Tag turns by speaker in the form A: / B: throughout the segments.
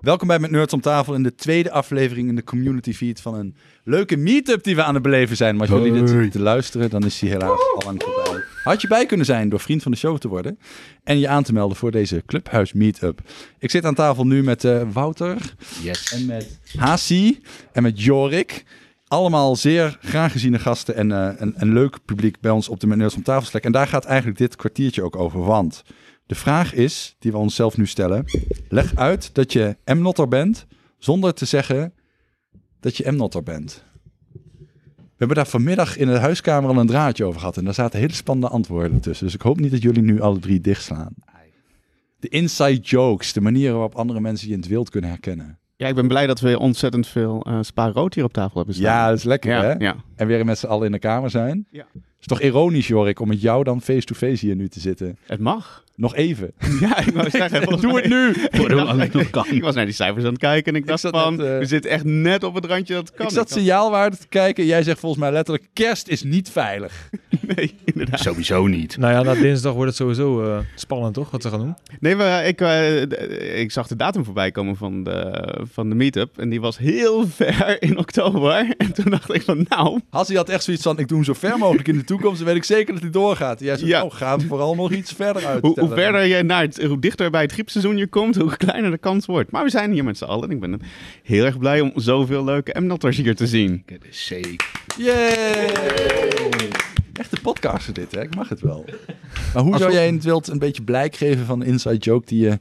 A: Welkom bij Met Nerds om tafel in de tweede aflevering in de community feed van een leuke meetup die we aan het beleven zijn. Maar als jullie dit zitten te luisteren, dan is die helaas al lang voorbij. Had je bij kunnen zijn door vriend van de show te worden en je aan te melden voor deze Clubhuis meetup. Ik zit aan tafel nu met eh, Wouter
B: Yes.
A: en met Hasi en met Jorik. Allemaal zeer graag geziene gasten en eh, een, een leuk publiek bij ons op de Meneers om tafel Slack. En daar gaat eigenlijk dit kwartiertje ook over. Want de vraag is, die we onszelf nu stellen. Leg uit dat je M-notter bent zonder te zeggen dat je M-notter bent. We hebben daar vanmiddag in de huiskamer al een draadje over gehad. En daar zaten hele spannende antwoorden tussen. Dus ik hoop niet dat jullie nu alle drie dichtslaan. De inside jokes, de manieren waarop andere mensen je in het wild kunnen herkennen.
C: Ja, ik ben blij dat we ontzettend veel eh spa rood hier op tafel hebben staan.
A: Ja, dat is lekker
C: ja,
A: hè?
C: ja.
A: En weer met z'n allen in de kamer zijn.
C: Ja.
A: is toch ironisch, Jorik, om met jou dan face-to-face hier nu te zitten.
C: Het mag.
A: Nog even.
C: Ja, ik wou zeggen, volgens
A: Doe
C: mij-
A: het nu!
B: Voor hoe lang het nog kan.
C: Ik was naar die cijfers aan het kijken en ik dacht
A: zat
C: van,
A: net, eh,
C: we zitten echt net op het randje dat het kan.
A: Ik zat signaalwaarde te kijken. Jij zegt volgens mij letterlijk, kerst is niet veilig.
C: Nee, inderdaad.
B: Sowieso niet.
D: Nou ja, na dinsdag wordt het sowieso eh, spannend, toch? Wat ze gaan doen.
C: Nee, maar ik, eh, d- ik zag de datum voorbij komen van de, van de meetup en die was heel ver in oktober. En toen dacht ik van, nou,
A: Hassie had echt zoiets van, ik doe hem zo ver mogelijk in de toekomst. Dan weet ik zeker dat hij doorgaat. Jij zegt,
C: Ja.
A: oh, ga hem vooral nog iets verder uit.
C: hoe, hoe verder je naar het, hoe dichter bij het griepseizoen je komt, hoe kleiner de kans wordt. Maar we zijn hier met z'n allen en ik ben heel erg blij om zoveel leuke M-natters hier te zien.
B: Dat is zeker.
A: Yay! Echte podcaster dit, hè? Ik mag het wel. Maar hoe zou jij in het wild een beetje blijk geven van een inside joke die je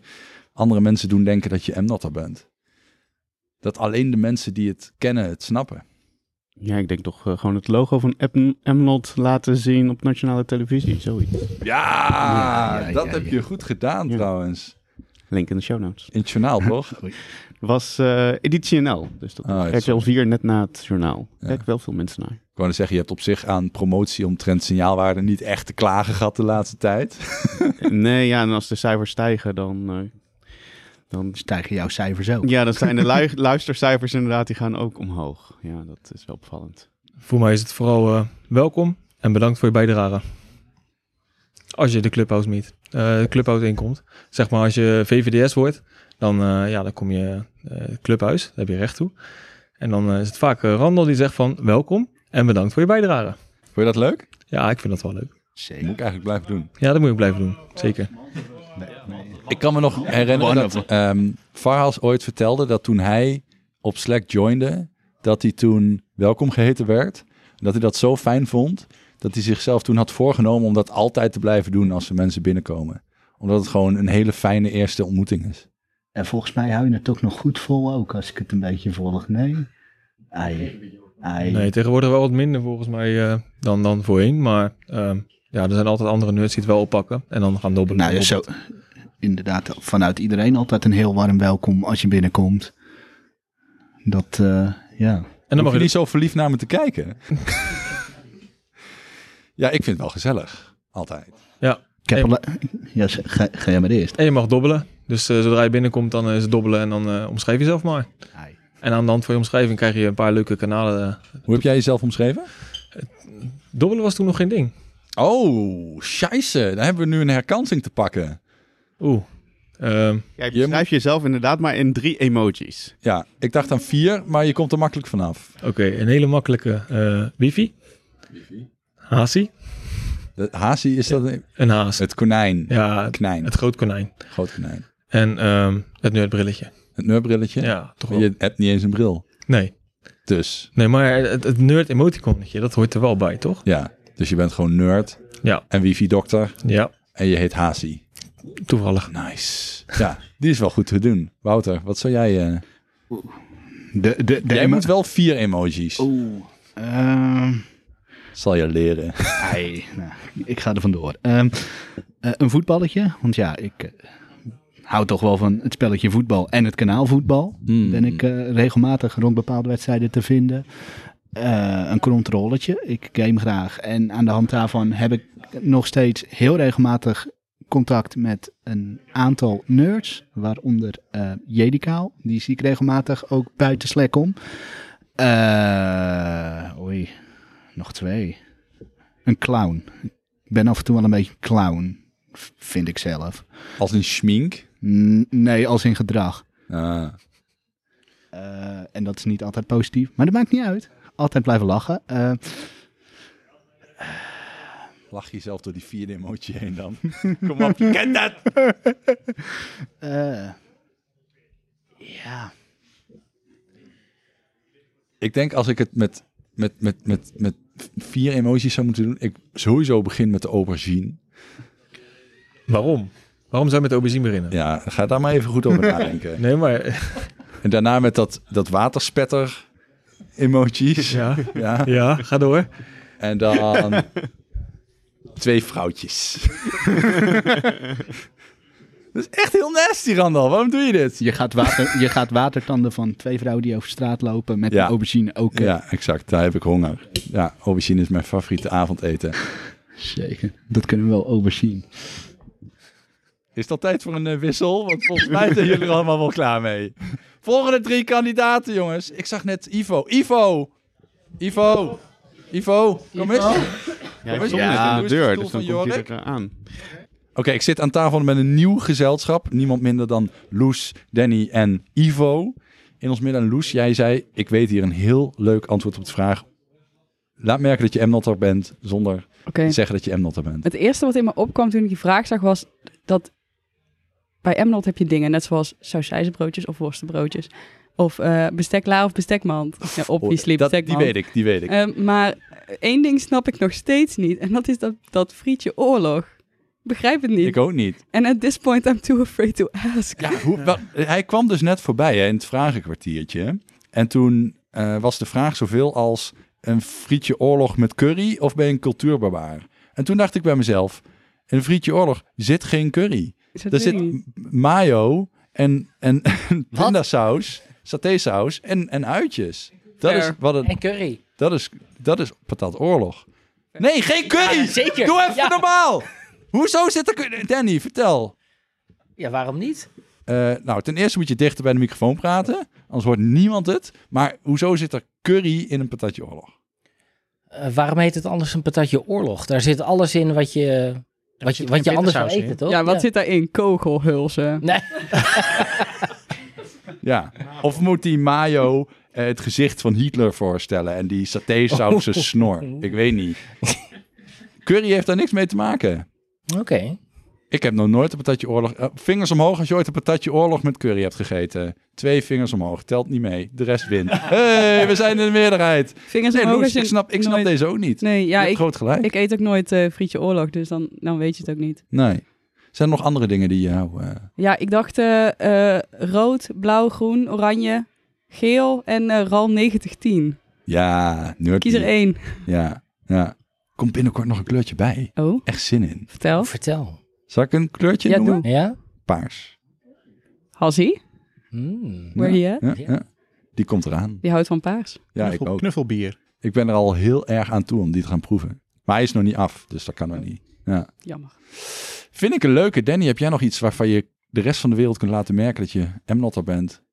A: andere mensen doen denken dat je M-notter bent? Dat alleen de mensen die het kennen het snappen.
C: Ja, ik denk toch eh, gewoon het logo van Appen- Amnot laten zien op nationale televisie, zoiets.
A: Ja,
B: ja,
A: dat
B: ja,
A: heb
B: ja.
A: je goed gedaan
C: Ja.
A: trouwens.
C: Link in de show notes.
A: In het journaal, toch?
C: Was eh, editie NL, dus dat
A: Ah, ja,
C: is RTL 4 net na het journaal.
A: Ja.
C: Kijk wel veel mensen naar.
A: Ik wou net zeggen, je hebt op zich aan promotie omtrent signaalwaarde niet echt te klagen gehad de laatste tijd.
C: nee, ja, en als de cijfers stijgen, dan... eh, dan
B: Stijgen Dus jouw cijfers
A: Oh.
B: ook.
C: ja, dan zijn de lui- luistercijfers inderdaad, die gaan ook omhoog. Ja, dat is wel opvallend.
D: Voor mij is het vooral eh, welkom en bedankt voor je bijdrage. Als je de Clubhouse meet, eh, de Clubhouse inkomt. Zeg maar als je VVDS wordt, dan, eh, ja, dan kom je eh Clubhuis, daar heb je recht toe. En dan eh, is het vaak eh, Randall die zegt van welkom en bedankt voor je bijdrage.
A: Vond je dat leuk?
D: Ja, ik vind dat wel leuk.
A: Moet
B: Zeker.
A: ik eigenlijk blijven doen.
D: Ja, dat moet ik blijven doen, zeker.
A: Ik kan me nog herinneren dat ehm Farhas ooit vertelde dat toen hij op Slack joinde, dat hij toen welkom geheten werd. Dat hij dat zo fijn vond, dat hij zichzelf toen had voorgenomen om dat altijd te blijven doen als er mensen binnenkomen. Omdat het gewoon een hele fijne eerste ontmoeting is.
B: En volgens mij hou je het ook nog goed vol ook, als ik het een beetje volg. Nee? Ei. Ei.
D: Nee, tegenwoordig wel wat minder volgens mij eh, dan, dan voorheen. Maar ehm, ja, er zijn altijd andere nerds die het wel oppakken en dan gaan dobbelen.
B: Nou ja, zo. Inderdaad, vanuit iedereen altijd een heel warm welkom als je binnenkomt. Dat, eh, ja.
D: En dan mag je
A: niet zo verliefd naar me te kijken. ja, ik vind het wel gezellig. Altijd.
D: Ja,
B: Ik heb
D: Hey.
B: al- ja zeg, ga, ga jij maar eerst.
D: en je mag dobbelen. Dus eh, zodra je binnenkomt, dan eh, is het dobbelen en dan eh, omschrijf jezelf maar.
B: Ei.
D: En aan de hand van je omschrijving krijg je een paar leuke kanalen. eh.
A: Hoe heb jij jezelf omschreven?
D: Dobbelen was toen nog geen ding.
A: Oh, scheisse. Daar hebben we nu een herkansing te pakken.
D: Oeh. Ehm,
C: Jij
A: Je
C: beschrijft jezelf inderdaad maar in drie emojis.
A: Ja, ik dacht aan vier, maar je komt er makkelijk vanaf.
D: Oké, een hele makkelijke. eh, wifi. Hazi.
A: De hazi is dat een-
D: Een haas.
A: het konijn.
D: Ja, het,
A: Knijn,
D: het groot konijn.
A: groot konijn.
D: En ehm, het nerdbrilletje.
A: Het neurbrilletje.
D: Ja, toch wel.
A: Je hebt niet eens een bril.
D: Nee.
A: Dus
D: nee, maar het, het nerd emoticonnetje, dat hoort er wel bij, toch?
A: ja, dus je bent gewoon nerd
D: Ja.
A: en wifi-dokter
D: Ja,
A: en je heet Hazi.
D: toevallig.
A: Nice. Ja, die is wel goed te doen. Wouter, wat zou jij... eh
B: De, de, de
A: jij
B: emo-
A: moet wel vier emojis.
B: Oeh. Ehm,
A: Zal je leren.
B: ei. Nou, ik ga er vandoor. Ehm, eh, een voetballetje. Want ja, ik eh, hou toch wel van het spelletje voetbal en het kanaalvoetbal.
A: Hmm.
B: ben ik eh, regelmatig rond bepaalde wedstrijden te vinden. Eh, een controletje. Ik game graag. En aan de hand daarvan heb ik nog steeds heel regelmatig contact met een aantal nerds. Waaronder eh Jedikaal. Die zie ik regelmatig ook buiten Slack om. Eh, oei, nog twee. Een clown. Ik ben af en toe wel een beetje een clown. v- Vind ik zelf.
A: Als een schmink.
B: N- nee, als in gedrag.
A: Ah,
B: Eh, en dat is niet altijd positief, maar dat maakt niet uit. Altijd blijven lachen. Eh,
A: Lach jezelf door die vierde emotie heen dan. Kom op, je kent dat!
B: eh, ja,
A: Ik denk als ik het met, met, met, met, met vier emoties zou moeten doen, ik sowieso begin met de aubergine.
D: Waarom? Waarom zou je met de aubergine beginnen?
A: Ja, ga daar maar even goed over nadenken.
D: Nee, maar...
A: En daarna met dat, dat waterspetter emoties.
D: Ja,
A: Ja.
D: ja ga door.
A: En dan twee vrouwtjes. Dat is echt heel nasty, Randal. Waarom doe je dit?
B: je gaat, water, je gaat watertanden van twee vrouwen die over straat lopen met
A: Ja.
B: een aubergine ook. eh,
A: Ja, exact. Daar heb ik honger. Ja, aubergine is mijn favoriete avondeten.
B: Zeker, dat kunnen we wel aubergine.
A: Is het al tijd voor een eh, wissel? Want volgens mij zijn jullie er allemaal wel klaar mee. Volgende drie kandidaten, jongens. Ik zag net Ivo. Ivo! Ivo! Ivo, kom eens. Oké,
C: Ja,
A: weet
C: ik
A: je,
C: stond net
A: ja.
C: aan de deur,
A: Stoel
C: dus dan
A: van
C: komt hij
A: Jorik.
C: er aan.
A: ik zit aan tafel met een nieuw gezelschap. Niemand minder dan Loes, Danny en Ivo. In ons midden, Loes, jij zei... Ik weet hier een heel leuk antwoord op de vraag. Laat merken dat je M-notter bent zonder
E: Oké.
A: te zeggen dat je M-notter bent.
E: Het eerste wat in me opkwam toen ik die vraag zag was dat bij Emnot heb je dingen net zoals sausijzenbroodjes of worstenbroodjes. Of eh bestekla of bestekmand. Ja, obviously
A: dat, die
E: bestekmand.
A: weet ik, die weet ik.
E: Eh, maar één ding snap ik nog steeds niet. En dat is dat, dat frietje oorlog. Ik Begrijp het niet.
A: ik ook niet.
E: En at this point I'm too afraid to ask.
A: Ja, hoe, wel, hij kwam dus net voorbij hè, in het vragenkwartiertje. En toen eh, was de vraag zoveel als een frietje oorlog met curry of ben je een cultuurbarbaar? En toen dacht ik bij mezelf, in een frietje oorlog zit geen curry.
E: Dus dat
A: Er
E: weet
A: zit
E: ik niet.
A: m- mayo en, en, en pindasaus, satésaus en, en uitjes. Dat is,
F: Fair.
A: wat het,
F: En curry.
A: dat, is, dat is patat oorlog. Nee, geen curry!
F: Ja, zeker.
A: Doe even
F: Ja.
A: normaal! Hoezo zit er curry? Danny, vertel.
F: Ja, waarom niet?
A: Eh, nou, ten eerste moet je dichter bij de microfoon praten. Anders hoort niemand het. Maar hoezo zit er curry in een patatje oorlog?
F: Eh, waarom heet het anders een patatje oorlog? Daar zit alles in wat je, wat je,
D: zit
F: wat je
D: geen
F: anders zou
D: bittersaus
F: eten,
D: in.
F: toch?
E: Ja, wat zit daarin? Kogelhulzen.
F: Nee,
A: Ja. Of moet die mayo eh, het gezicht van Hitler voorstellen en die satésaus
F: Oh.
A: zijn snor? Ik weet niet. Curry heeft daar niks mee te maken.
F: oké.
A: Ik heb nog nooit een patatje oorlog... eh, vingers omhoog als je ooit een patatje oorlog met curry hebt gegeten. Twee vingers omhoog. Telt niet mee. De rest wint. hey, we zijn in de meerderheid.
E: Vingers
A: Nee,
E: omhoog
A: Loes,
E: als je
A: ik snap, ik snap
E: nooit-
A: deze ook niet.
E: Nee, ja,
A: je hebt
E: ik,
A: groot gelijk.
E: ik eet ook nooit eh, frietje oorlog, dus dan, dan weet je het ook niet.
A: Nee. Zijn er nog andere dingen die jou... eh,
E: Ja, ik dacht eh, eh, rood, blauw, groen, oranje, geel en eh RAL 9010.
A: Ja, nerd.
E: Kies er één.
A: Ja, ja. Komt binnenkort nog een kleurtje bij.
E: Oh,
A: Echt zin in.
E: vertel.
F: Vertel.
A: Zal ik een kleurtje
E: Ja,
A: noemen?
E: doe.
F: Ja?
A: Paars.
E: Hassie,
F: Hmm.
E: where
A: Ja,
E: he at?
A: ja, ja. Die komt eraan.
E: Die houdt van paars.
A: Ja, ik
C: Knuffel-
A: ook.
C: Knuffelbier.
A: Ik ben er al heel erg aan toe om die te gaan proeven. Maar hij is nog niet af, dus dat kan nog niet.
E: Jammer.
A: Vind ik een leuke. Danny, heb jij nog iets waarvan je de rest van de wereld kunt laten merken dat je M-notter bent?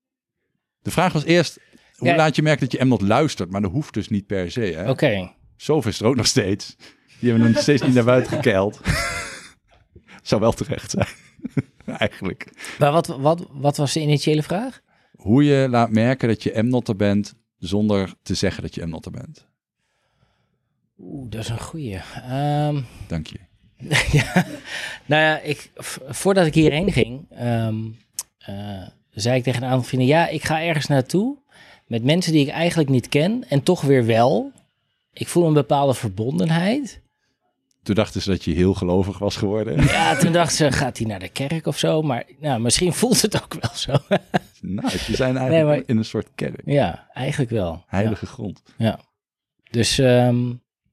A: De vraag was eerst, hoe
F: Ja.
A: laat je merken dat je M-not luistert? Maar dat hoeft dus niet per se, hè?
F: Oké.
A: Zoveel is er ook nog steeds. Die hebben nog steeds niet naar buiten gekeild. Zou wel terecht zijn. Eigenlijk.
F: Maar wat, wat, wat was de initiële vraag?
A: Hoe je laat merken dat je M-notter bent zonder te zeggen dat je M-notter bent.
F: Oeh, dat is een goeie. Ehm,
A: Dank je.
F: ja. Nou ja, ik, v- voordat ik hierheen ging, ehm, eh, zei ik tegen een aantal vrienden: Ja, ik ga ergens naartoe met mensen die ik eigenlijk niet ken en toch weer wel. Ik voel een bepaalde verbondenheid.
A: Toen dachten ze dat je heel gelovig was geworden.
F: Ja, toen dacht ze: Gaat hij naar de kerk of zo? Maar nou, misschien voelt het ook wel zo.
A: nou, je zijn eigenlijk
F: Nee, maar-
A: in een soort kerk.
F: ja, eigenlijk wel.
A: Heilige grond.
F: Ja. Dus ehm,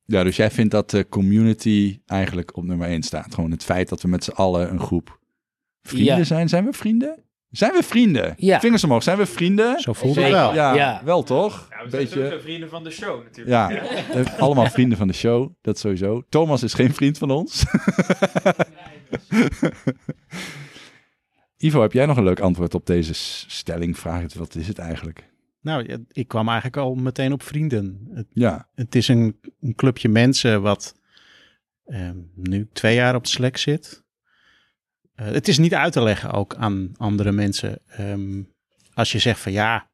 A: Ja, dus jij vindt dat de community eigenlijk op nummer 1 staat. Gewoon het feit dat we met z'n allen een groep vrienden
F: Ja.
A: zijn. Zijn we vrienden? Zijn we vrienden?
F: Ja.
A: Vingers omhoog. Zijn we vrienden?
B: Zo voelt
F: Zeker.
B: wel.
A: Ja,
F: Ja.
A: wel toch?
G: Ja, we zijn
A: Beetje...
G: sowieso vrienden van de show natuurlijk.
A: Ja, eh, allemaal vrienden van de show, dat sowieso. Thomas is geen vriend van ons. Ivo, heb jij nog een leuk antwoord op deze s- stelling? Vraag het, wat is het eigenlijk?
C: Nou, ja, ik kwam eigenlijk al meteen op vrienden. Het,
A: Ja,
C: het is een, een clubje mensen wat ehm, nu twee jaar op Slack zit. Eh, het is niet uit te leggen ook aan andere mensen. Ehm, als je zegt van ja,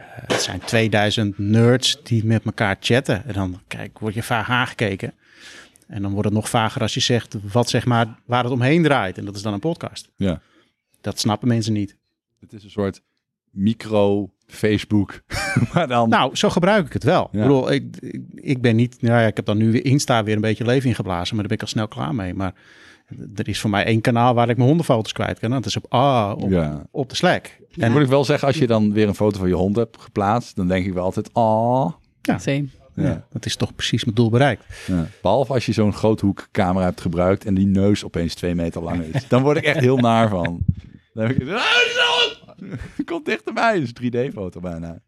C: het zijn 2000 nerds die met elkaar chatten. En dan kijk, word je vaag aangekeken. En dan wordt het nog vager als je zegt wat zeg maar, waar het omheen draait. En dat is dan een podcast.
A: Ja.
C: Dat snappen mensen niet.
A: Het is een soort micro-Facebook. maar dan...
C: Nou, zo gebruik ik het wel.
A: Ja.
C: Ik bedoel, ik, ik, ik ben niet... Nou ja, ik heb dan nu weer Insta weer een beetje leven ingeblazen. Maar daar ben ik al snel klaar mee. Maar er is voor mij één kanaal waar ik mijn hondenfoto's kwijt kan. Dat is op, ah, op,
A: ja.
C: op de Slack.
A: En moet ik wel zeggen, als je dan weer een foto van je hond hebt geplaatst, dan denk ik wel altijd, ah.
C: Ja.
E: Same.
A: Ja.
C: Ja, dat is toch precies mijn doel bereikt.
A: Ja. Behalve als je zo'n groothoekcamera hebt gebruikt en die neus opeens twee meter lang is. Dan word ik echt heel naar van. Dan heb ik... Ah, zo! Komt dichterbij, dat is een 3D-foto bijna.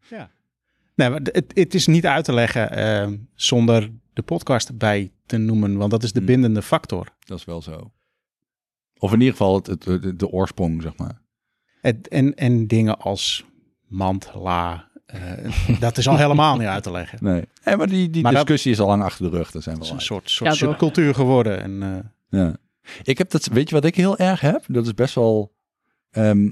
C: Nee, maar het, het is niet uit te leggen eh, zonder de podcast erbij te noemen, want dat is de
A: Hmm.
C: bindende factor.
A: Dat is wel zo. Of in ieder geval het, het, het- de oorsprong, zeg maar.
C: Het, en, en dingen als mantla, eh, dat is al helemaal niet uit te leggen.
A: Nee. En maar die, die
C: Maar dat-
A: discussie is al lang achter de rug. Daar zijn
C: Het
A: we
C: is
A: al
C: een
A: uit.
C: soort, soort
E: Ja, toch?
C: subcultuur geworden. En, eh,
A: Ja. Ik heb dat, weet je wat ik heel erg heb? Dat is best wel. ehm,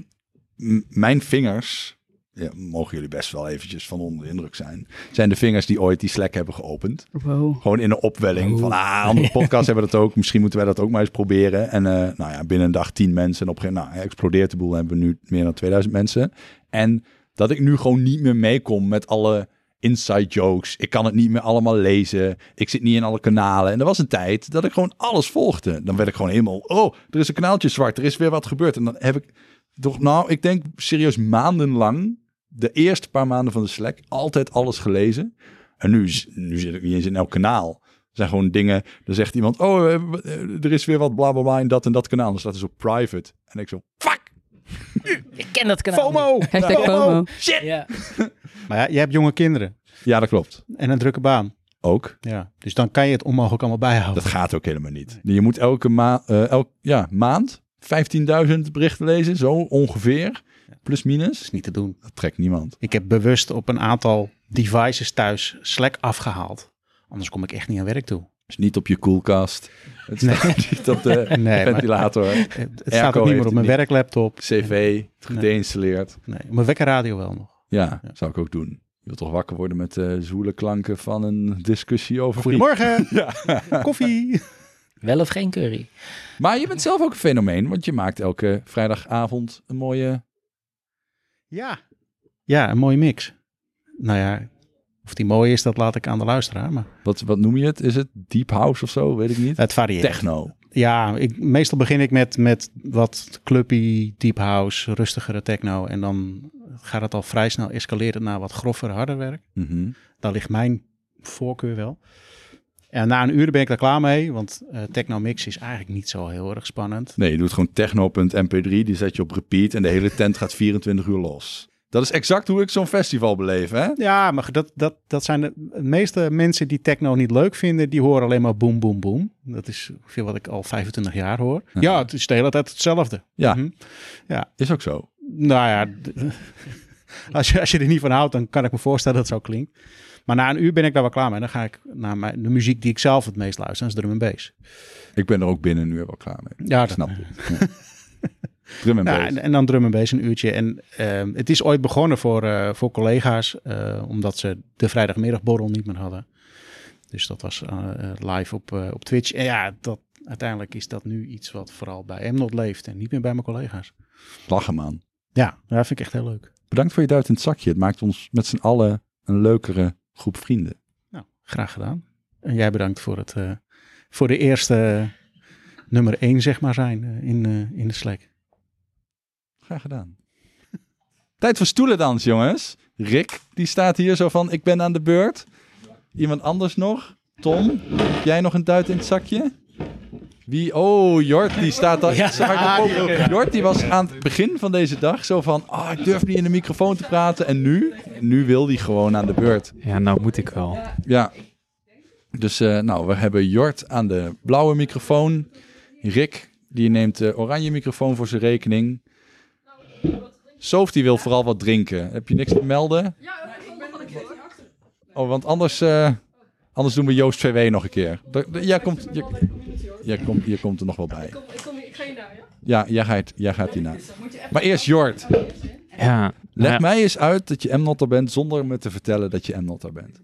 A: m- mijn vingers. Ja, mogen jullie best wel eventjes van onder de indruk zijn. Zijn de vingers die ooit die Slack hebben geopend.
E: Wow.
A: Gewoon in een opwelling van. Ah, andere podcasts hebben dat ook. Misschien moeten wij dat ook maar eens proberen. En eh, nou ja, binnen een dag tien mensen. En op een gegeven moment nou, explodeert de boel. En hebben we nu meer dan 2000 mensen. En dat ik nu gewoon niet meer meekom met alle inside jokes. Ik kan het niet meer allemaal lezen. Ik zit niet in alle kanalen. En er was een tijd dat ik gewoon alles volgde. Dan werd ik gewoon helemaal... Oh, er is een kanaaltje zwart. Er is weer wat gebeurd. En dan heb ik toch... Nou, ik denk serieus maandenlang... de eerste paar maanden van de Slack... altijd alles gelezen. En nu, is- nu zit ik niet eens in elk kanaal. Er zijn gewoon dingen... Dan zegt iemand... Oh, eh, w- eh, er is weer wat bla bla bla in dat en dat kanaal. Dan staat er zo private. En ik zo... Fuck!
F: Ik ken dat kanaal.
C: FOMO!
E: Hashtag FOMO.
F: niet. Ja.
C: Maar ja, je hebt jonge kinderen
A: Ja, dat klopt.
C: en een drukke baan.
A: Ook.
C: Ja. Dus dan kan je het onmogelijk allemaal bijhouden.
A: Dat gaat ook helemaal niet. Je moet elke ma eh, elk, ja, maand 15.000 berichten lezen, zo ongeveer. Plus
C: Dat
A: minus.
C: is niet te doen.
A: Dat trekt niemand.
C: Ik heb bewust op een aantal devices thuis Slack afgehaald. Anders kom ik echt niet aan werk toe.
A: Dus niet op je koelkast. Het staat niet op de
C: Nee, maar-
A: ventilator.
C: Het, het
A: Airco
C: staat ook niet
A: heeft
C: meer op mijn
A: het
C: werklaptop.
A: CV, gedeinstalleerd.
C: Nee, op mijn wekkerradio wel nog.
A: Ja, zou ik ook doen. Je wilt toch wakker worden met eh zwoele klanken van een discussie over...
C: Goedemorgen,
A: Ja.
C: koffie.
F: Wel of geen curry?
A: Maar je bent zelf ook een fenomeen, want je maakt elke vrijdagavond een mooie...
C: Ja. Ja, een mooie mix. Nou ja, of die mooi is, dat laat ik aan de luisteraar. Maar
A: Wat, wat noem je het? Is het deep house of zo? Weet ik niet.
C: het varieert.
A: Techno.
C: Ja, ik, meestal begin ik met, met wat clubby, deep house, rustigere techno. En dan gaat het al vrij snel escaleren naar wat grover, harder werk.
A: Mhm.
C: Daar ligt mijn voorkeur wel. En na een uur ben ik er klaar mee, want eh, techno mix is eigenlijk niet zo heel erg spannend.
A: Nee, je doet gewoon techno.mp3, die zet je op repeat en de hele tent gaat 24 uur los. Dat is exact hoe ik zo'n festival beleef, hè?
C: Ja, maar dat, dat, dat zijn de, de meeste mensen die techno niet leuk vinden, die horen alleen maar boem, boem, boem. Dat is veel wat ik al 25 jaar hoor.
A: Ja.
C: Ja, het is de hele tijd hetzelfde.
A: Ja.
C: Mhm.
A: Is ook zo.
C: Nou ja, d- als je, als je er niet van houdt, dan kan ik me voorstellen dat het zo klinkt. Maar na een uur ben ik daar wel klaar mee. Dan ga ik naar mijn, de muziek die ik zelf het meest luister, dat is drum en bass.
A: Ik ben er ook binnen nu wel klaar mee.
C: Ja,
A: Ik snap je. Ja. Drum en
C: Nou,
A: bass.
C: en, en dan drum en bass een uurtje. En ehm, het is ooit begonnen voor, eh, voor collega's, eh, omdat ze de vrijdagmiddagborrel niet meer hadden. Dus dat was eh, eh, live op, eh, op Twitch. En ja, dat, uiteindelijk is dat nu iets wat vooral bij Emnot leeft en niet meer bij mijn collega's.
A: Lachen, man.
C: Ja, dat vind ik echt heel leuk.
A: Bedankt voor je duit in het zakje. Het maakt ons met z'n allen een leukere groep vrienden.
C: Nou, graag gedaan. En jij bedankt voor, het, eh, voor de eerste nummer één, zeg maar, zijn eh, in, eh, in de Slack.
A: Graag gedaan. Tijd voor stoelendans, jongens. Rick, die staat hier zo van, ik ben aan de beurt. Iemand anders nog? Tom, heb jij nog een duit in het zakje? Wie? Oh, Jort, die staat al...
F: Ja.
A: Ze maakt een poging. Jort, die was aan het begin van deze dag zo van... Ah, ik durf niet in de microfoon te praten. En nu? Nu wil die gewoon aan de beurt.
G: Ja, nou moet ik wel.
A: Ja. Dus eh, nou, we hebben Jort aan de blauwe microfoon. Rick, die neemt de oranje microfoon voor zijn rekening. Soof, die wil vooral wat drinken. Heb je niks te melden? Oh, want anders, eh, anders doen we Joost 2W nog een keer. Da- da- Jij komt, jij, jij komt, jij komt er nog wel bij. Ja, jij gaat, jij gaat hierna. Maar eerst Jort.
G: Ja, nou
A: Leg
G: Ja.
A: mij eens uit dat je MNotter bent zonder me te vertellen dat je MNotter bent.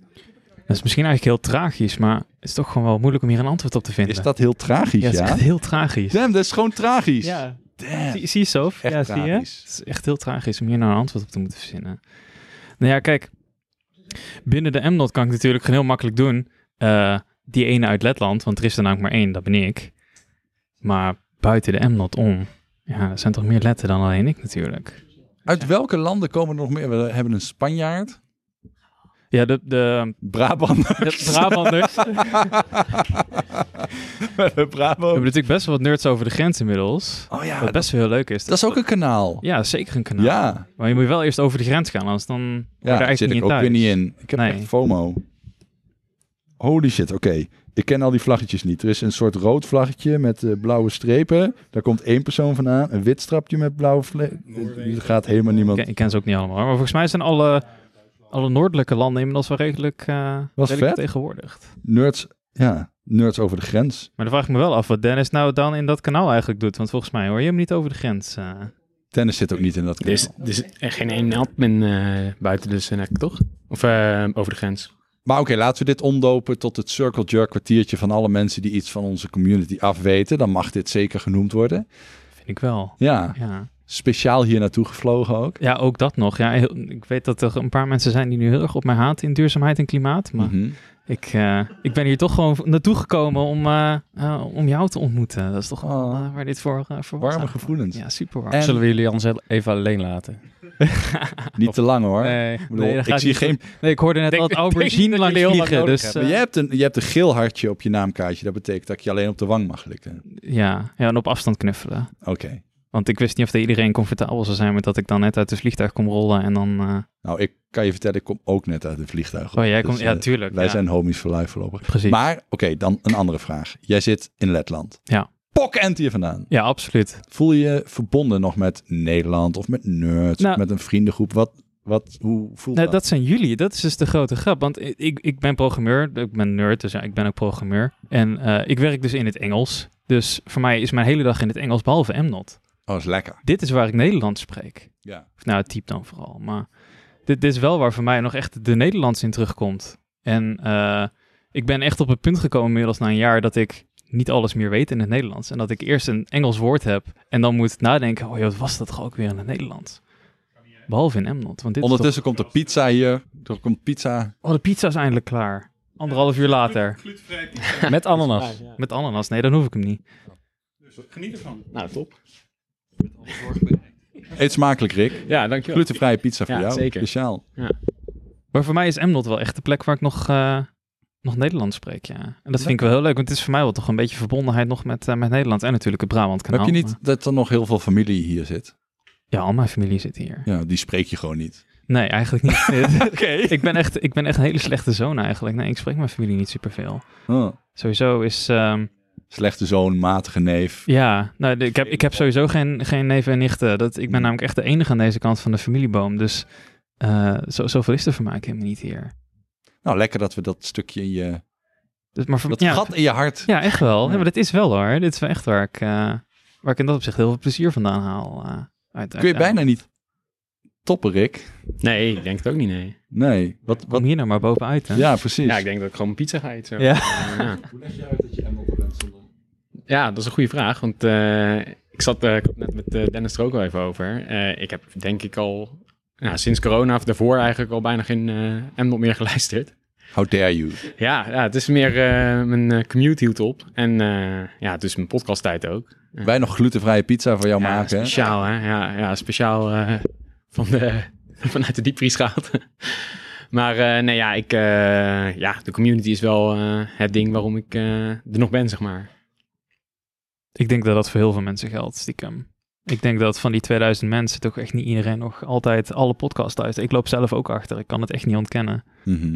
G: Dat is misschien eigenlijk heel tragisch, maar het is toch gewoon wel moeilijk om hier een antwoord op te vinden.
A: Is dat heel tragisch,
G: ja,
A: ja?
G: het is echt heel tragisch.
A: Damn, dat is gewoon tragisch.
G: Ja,
A: Damn.
G: zie, zie je zo?
A: Echt
G: ja, zie je?
A: tragisch.
G: Het is echt heel tragisch om hier nou een antwoord op te moeten verzinnen. Nou ja, kijk. Binnen de MNOT kan ik natuurlijk gewoon heel makkelijk doen. eh, die ene uit Letland, want er is er namelijk maar één, dat ben ik. Maar buiten de MNOT om. Ja, er zijn toch meer letten dan alleen ik natuurlijk.
A: Uit welke landen komen er nog meer? We hebben een Spanjaard,
G: Ja, de, de,
A: Brabant.
G: de Brabanders. we hebben
A: Brabant.
G: natuurlijk best wel wat nerds over de grens inmiddels.
A: Oh ja,
G: Wat
A: dat,
G: best wel heel leuk is.
A: is ook een kanaal.
G: Ja, zeker een kanaal.
A: Ja,
G: Maar je moet wel eerst over de grens gaan, anders dan word je
A: ja
G: er
A: daar
G: eigenlijk
A: zit
G: niet
A: ik ook
G: thuis.
A: weer niet in. Ik heb
G: Nee.
A: echt FOMO. Holy shit, oké. Ik ken al die vlaggetjes niet. Er is een soort rood vlaggetje met eh, blauwe strepen. Daar komt één persoon vandaan. Een wit strapje met blauwe vle- Er gaat helemaal niemand.
G: Ik ken, ik ken ze ook niet allemaal, maar volgens mij zijn alle, alle noordelijke landen inmiddels wel redelijk, eh
A: Was
G: redelijk
A: vet.
G: vertegenwoordigd.
A: Nerds, ja, nerds over de grens.
G: Maar dan vraag ik me wel af wat Dennis nou dan in dat kanaal eigenlijk doet, want volgens mij hoor je hem niet over de grens. eh.
A: Tennis zit ook niet in dat
G: Er
A: kanaal.
G: is-
A: Dus,
G: Ja.
H: Er is echt geen één admin eh, buiten de Senec, toch? Of eh, over de grens.
A: Maar oké, laten we dit omdopen tot het circle jerk kwartiertje van alle mensen die iets van onze community afweten. Dan mag dit zeker genoemd worden.
G: Vind ik wel.
A: Ja,
G: Ja.
A: speciaal hier naartoe gevlogen ook.
G: ja, ook dat nog. Ja, heel- ik weet dat er een paar mensen zijn die nu heel erg op mij haat in duurzaamheid en klimaat, maar
A: Mhm.
G: ik, eh, ik ben hier toch gewoon naartoe gekomen om, eh, eh, om jou te ontmoeten. Dat is toch wel,
A: Oh.
G: eh, waar dit voor, eh, voor was
A: Warme
G: eigenlijk.
A: gevoelens.
G: Ja, super warm.
A: En-
G: Zullen
H: Zullen we jullie anders even alleen laten?
A: Niet te lang hoor.
G: we- Nee,
A: Ik bedoel,
G: nee, dat
A: ik
G: gaat
A: zie
G: niet
A: geen...
G: Nee, ik hoorde net
H: Denk-
G: al het
H: denk
G: aubergine
H: niet dat
G: langs
H: jullie heel lang
G: vliegen.
H: nodig
G: Dus,
A: Maar
G: eh,
A: jij hebt, een, je hebt een geel hartje op je naamkaartje. Dat betekent dat ik je alleen op de wang mag likken.
G: ja, ja, en op afstand knuffelen.
A: Oké.
G: Want ik wist niet of dat iedereen comfortabel zou zijn met dat ik dan net uit het vliegtuig kom rollen en dan... eh,
A: Nou, ik kan je vertellen, ik kom ook net uit een vliegtuig.
G: oh, jij
A: Dus,
G: komt... ja,
A: eh,
G: tuurlijk.
A: Wij
G: ja.
A: zijn homies voor life voorlopig.
G: Precies.
A: Maar, oké, dan een andere vraag. Jij zit in Letland.
G: Ja.
A: Pokend hier vandaan.
G: Ja, absoluut.
A: Voel je je verbonden nog met Nederland of met nerds
G: Nou-
A: of met een vriendengroep? Wat, wat, hoe voelt
G: Nee,
A: dat?
G: dat zijn jullie. Dat is dus de grote grap. Want i- ik, ik ben programmeur. Ik ben nerd, dus ja, ik ben ook programmeur. En eh, ik werk dus in het Engels. Dus voor mij is mijn hele dag in het Engels, behalve MNOT.
A: Oh, is lekker.
G: Dit is waar ik Nederlands spreek.
A: Ja.
G: Of nou, het type dan vooral. Maar dit, dit is wel waar voor mij nog echt de Nederlands in terugkomt. En eh, ik ben echt op het punt gekomen inmiddels na een jaar dat ik niet alles meer weet in het Nederlands. En dat ik eerst een Engels woord heb en dan moet nadenken, oh joh, wat was dat toch ook weer in het Nederlands? Behalve in Emnot. Want dit is
A: Ondertussen komt de pizza hier. Er komt pizza.
G: toch- oh, de pizza is eindelijk klaar. Anderhalf uur later.
H: Met ananas.
G: Met ananas. Nee, dan hoef ik hem niet.
H: Nou, top.
A: Eet smakelijk, Rick.
H: Ja, dankjewel.
A: Glutenvrije pizza voor
H: Ja,
A: jou.
H: zeker.
A: Speciaal.
G: Maar voor mij is Emnot wel echt de plek waar ik nog, eh, nog Nederlands spreek, ja. En dat vind ik wel heel leuk, want het is voor mij wel toch een beetje verbondenheid nog met, eh, met Nederland. En natuurlijk het Brabantkanaal.
A: Heb je niet
G: maar-
A: dat er nog heel veel familie hier zit?
G: Ja, al mijn familie zit hier.
A: Ja, die spreek je gewoon niet.
G: Nee, eigenlijk niet. ik, ben echt, ik ben echt een hele slechte zoon eigenlijk. Nee, ik spreek mijn familie niet superveel.
A: Huh.
G: Sowieso is... ehm,
A: Slechte zoon, matige neef.
G: ja, nou, de- ik, heb, ik heb sowieso geen, geen neven en nichten. Dat,
A: Hmm.
G: ik ben namelijk echt de enige aan deze kant van de familieboom. Dus eh, zo, zoveel is er voor mij ook helemaal niet hier.
A: Nou, lekker dat we dat stukje in je...
G: Dus, maar voor,
A: Dat
G: ja,
A: gat in je hart.
G: Ja, echt wel. Ja, maar dit is wel hoor. Dit is wel echt waar ik, eh, waar ik in dat opzicht heel veel plezier vandaan haal. eh, uit,
A: Kun je bijna niet toppen, Rick.
H: Nee, ik denk het ook niet, nee.
A: Nee. Wat, wat...
G: Kom hier nou maar bovenuit hè.
A: Ja, precies.
H: Ja, ik denk dat ik gewoon een pizza ga eten. zo.
G: Ja.
H: Ja. nou,
A: Hoe leg je uit dat je Emel bent zonder...
H: Ja, dat is een goede vraag. Want eh, ik zat eh, ik had net met eh, Dennis er ook al even over. Eh, ik heb denk ik al nou, sinds corona of daarvoor eigenlijk al bijna geen eh MNOT meer geluisterd.
A: How dare you.
H: Ja, ja het is meer eh, mijn eh, commute hield op. En eh, ja, het is mijn podcasttijd ook.
A: Wij nog glutenvrije pizza voor jou
H: ja,
A: maken. hè?
H: speciaal hè. Ja, ja speciaal eh, van de, vanuit de diepvries gehaald. maar eh, nee, ja, ik, eh, ja, de community is wel eh, het ding waarom ik eh, er nog ben, zeg maar.
G: Ik denk dat dat voor heel veel mensen geldt, stiekem. Ik denk dat van die 2000 mensen toch echt niet iedereen nog altijd alle podcasts luistert. Ik loop zelf ook achter. Ik kan het echt niet ontkennen.
A: Mhm.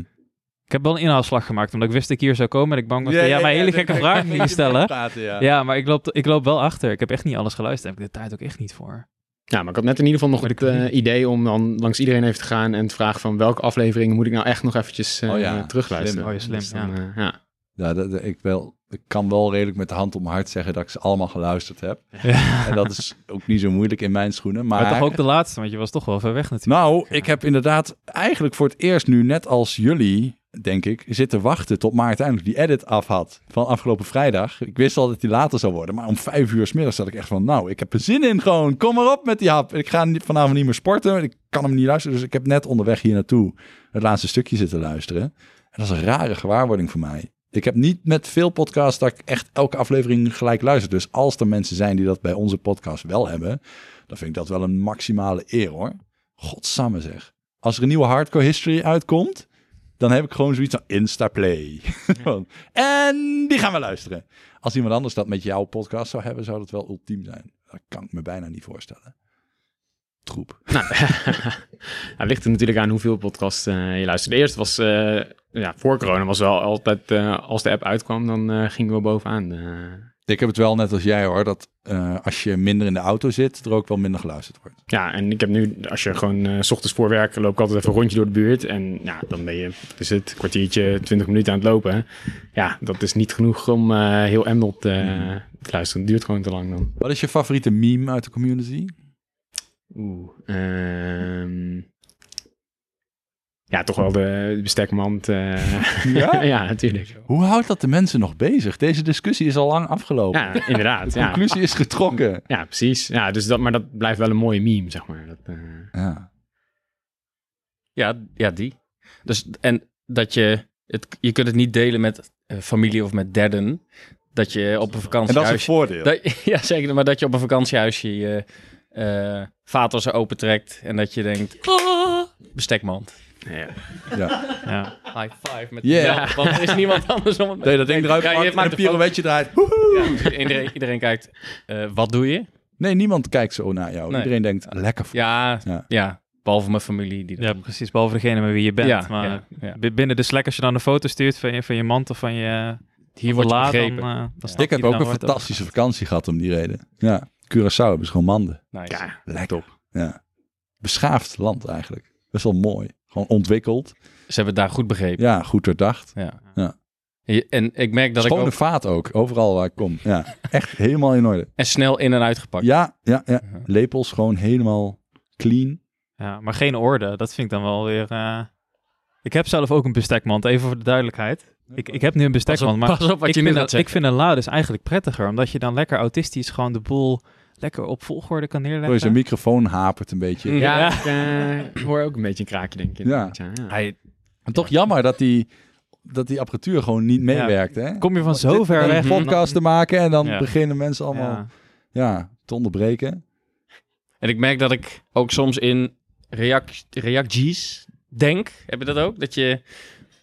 G: Ik heb wel een inhaalslag gemaakt, omdat ik wist dat ik hier zou komen. En ik bang was, ja, ja, maar hele gekke vragen die je stellen.
A: ja.
G: Ja, maar ik loop, ik loop wel achter. Ik heb echt niet alles geluisterd. Daar heb ik de tijd ook echt niet voor.
H: Ja, maar ik had net in ieder geval nog
G: Maar
H: het
G: de
H: eh, idee om dan langs iedereen even te gaan en te vragen van welke afleveringen moet ik nou echt nog eventjes eh,
A: Oh ja,
H: terugluisteren.
G: slim. Oh ja, slim,
H: Dus dan, eh, ja.
A: Ja, dat, dat- ik, wel, ik kan wel redelijk met de hand op mijn hart zeggen dat ik ze allemaal geluisterd heb.
G: Ja.
A: En dat is ook niet zo moeilijk in mijn schoenen. Maar,
G: Maar toch ook de laatste, want je was toch wel ver weg natuurlijk.
A: Nou, ik heb inderdaad eigenlijk voor het eerst nu, net als jullie, denk ik, zitten wachten tot Maarten eindelijk die edit af had van afgelopen vrijdag. Ik wist al dat die later zou worden, maar om vijf uur 's middags zat ik echt van, nou, ik heb er zin in gewoon. Kom maar op met die hap. Ik ga niet- vanavond niet meer sporten, want ik kan hem niet luisteren. Dus ik heb net onderweg hier naartoe het laatste stukje zitten luisteren. En dat is een rare gewaarwording voor mij. Ik heb niet met veel podcasts dat ik echt elke aflevering gelijk luister. Dus als er mensen zijn die dat bij onze podcast wel hebben, dan vind ik dat wel een maximale eer hoor. Godsamme zeg. Als er een nieuwe Hardcore History uitkomt, dan heb ik gewoon zoiets van Instaplay. Gewoon, en die gaan we luisteren. Als iemand anders dat met jouw podcast zou hebben, zou dat wel ultiem zijn. Dat kan ik me bijna niet voorstellen. Troep.
H: Nou, het ligt er natuurlijk aan hoeveel podcasts eh, je luistert. De eerste was, eh, ja, voor corona was wel altijd, eh, als de app uitkwam, dan eh, gingen we bovenaan. eh.
A: Ik heb het wel net als jij hoor, dat eh, als je minder in de auto zit, er ook wel minder geluisterd wordt.
H: ja, en ik heb nu, als je gewoon eh, s ochtends voor werk, loop ik altijd even een rondje door de buurt. En ja, dan ben je, wat is het, kwartiertje, twintig minuten aan het lopen. Ja, dat is niet genoeg om eh, heel Emdot eh,
A: Hmm.
H: te luisteren. Het duurt gewoon te lang dan.
A: Wat is je favoriete meme uit de community?
H: Oeh. ehm, ja, toch wel de, de bestekmand. eh.
A: Ja?
H: ja, natuurlijk.
A: Hoe houdt dat de mensen nog bezig? Deze discussie is al lang afgelopen.
H: Ja, inderdaad.
A: de
H: ja.
A: conclusie is getrokken.
H: ja, precies. Ja, dus dat, maar dat blijft wel een mooie meme, zeg maar. Dat, eh,
A: Ja.
I: Ja, ja die. Dus, en dat je, het, je kunt het niet delen met eh, familie of met derden. Dat je op een
A: En dat is het
I: vakantiehuisje...
A: voordeel.
I: dat- ja, zeker. Maar dat je op een vakantiehuisje je eh vaatwasser opentrekt. En dat je denkt, "Ah, bestekmand.
H: ja.
G: Ja.
I: High five met
A: Yeah.
I: jezelf, Want er is niemand anders om het
A: Nee, dat ding eruit
I: Ja, je
A: pakt en
I: maakt
A: een
I: de foto.
A: pirouetje draait.
I: Iedereen, iedereen kijkt, eh, wat doe je?
A: Nee, niemand kijkt zo naar jou.
I: Nee.
A: Iedereen denkt, lekker. Ja.
I: Ja,
A: Ja.
I: ja. behalve mijn familie. Die dat
G: ja, precies. Behalve degene met wie je bent.
I: Ja,
G: maar
I: ja, ja.
G: bi- binnen de Slack, als je dan een foto stuurt van je, van je mand of van je...
I: Hier wordt je
G: laat,
I: begrepen.
G: Dan, eh, dan snapt
A: "Ah, Ik heb
G: iedereen
A: ook een
G: waar het over
A: fantastische vakantie gehad om die reden. Ja, Curaçao hebben ze gewoon manden.
I: Nice.
H: Ja.
A: Lekker. Top. Ja. Beschaafd land eigenlijk. Best wel mooi. Gewoon ontwikkeld.
I: Ze hebben het daar goed begrepen.
A: Ja, goed doordacht.
I: Ja.
A: Ja.
I: Je- En ik merk dat
A: Schone
I: ik ook...
A: vaat ook, overal waar ik kom. Ja, echt helemaal in orde.
I: En snel in en uitgepakt.
A: Ja, ja, ja.
I: Ja.
A: Lepels gewoon helemaal clean.
G: Ja, maar geen orde. Dat vind ik dan wel weer... eh, Ik heb zelf ook een bestekmand, even voor de duidelijkheid. Ik, ik heb nu een
I: Pas op,
G: bestekmand, maar
I: pas op wat
G: ik,
I: je nu
G: vind
I: gaat
G: een, ik
I: zeggen.
G: vind een la dus eigenlijk prettiger, omdat je dan lekker autistisch gewoon de boel lekker op volgorde kan
A: Oh, zijn
G: neerleggen.
A: microfoon hapert een beetje.
H: Ja,
G: Ja.
H: ik eh, hoor ook een beetje een kraakje, denk ik.
A: Ja.
H: ja.
I: Hij,
A: En toch jammer dat die, dat die apparatuur gewoon niet meewerkt. Hè?
G: Kom je van zo
A: Dit-
G: ver
A: een
G: weg. en dan-
A: podcast te maken en dan
G: Ja.
A: beginnen mensen allemaal
G: Ja.
A: ja, te onderbreken.
I: en ik merk dat ik ook soms in react- reacties denk. Heb je dat ook? Dat, je,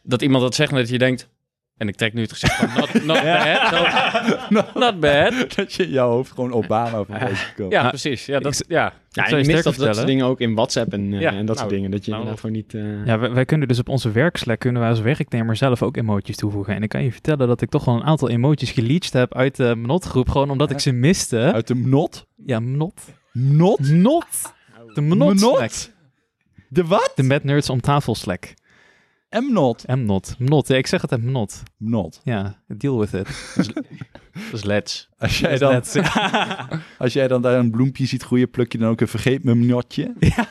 I: dat iemand dat zegt en dat je denkt... En ik trek nu het gezicht van not, not bad. Not, not bad.
A: Dat je in jouw hoofd gewoon Obama van deze komt.
I: Ja,
G: Ja.
I: precies. Ja, dat, ja.
G: zou
H: Ja, en
G: je
H: je
G: sterker
H: mist dat, dat soort
G: vertellen.
H: dingen ook in WhatsApp en, eh,
I: Ja,
H: en dat soort
I: nou,
H: dingen. Dat je
I: nou,
H: inderdaad gewoon niet... eh,
G: Ja, wij, wij kunnen dus op onze werkslek kunnen wij als werknemer zelf ook emoties toevoegen. En ik kan je vertellen dat ik toch wel een aantal emoties geleached heb uit de Mnot-groep, gewoon omdat ik ze miste.
A: Uit de not.
G: Ja, Mnot.
A: Not?
G: Not? De Mnot-slack.
A: De wat?
G: De Mad Nerds om tafel slack.
A: M-not.
G: M-not. Mnot. Ja, ik zeg het M-not.
A: Not.
G: Ja, deal with it.
I: Dat is lets.
A: Als jij, dan,
G: That's it.
A: als jij dan daar een bloempje ziet groeien, pluk je dan ook een vergeet me notje? Ja.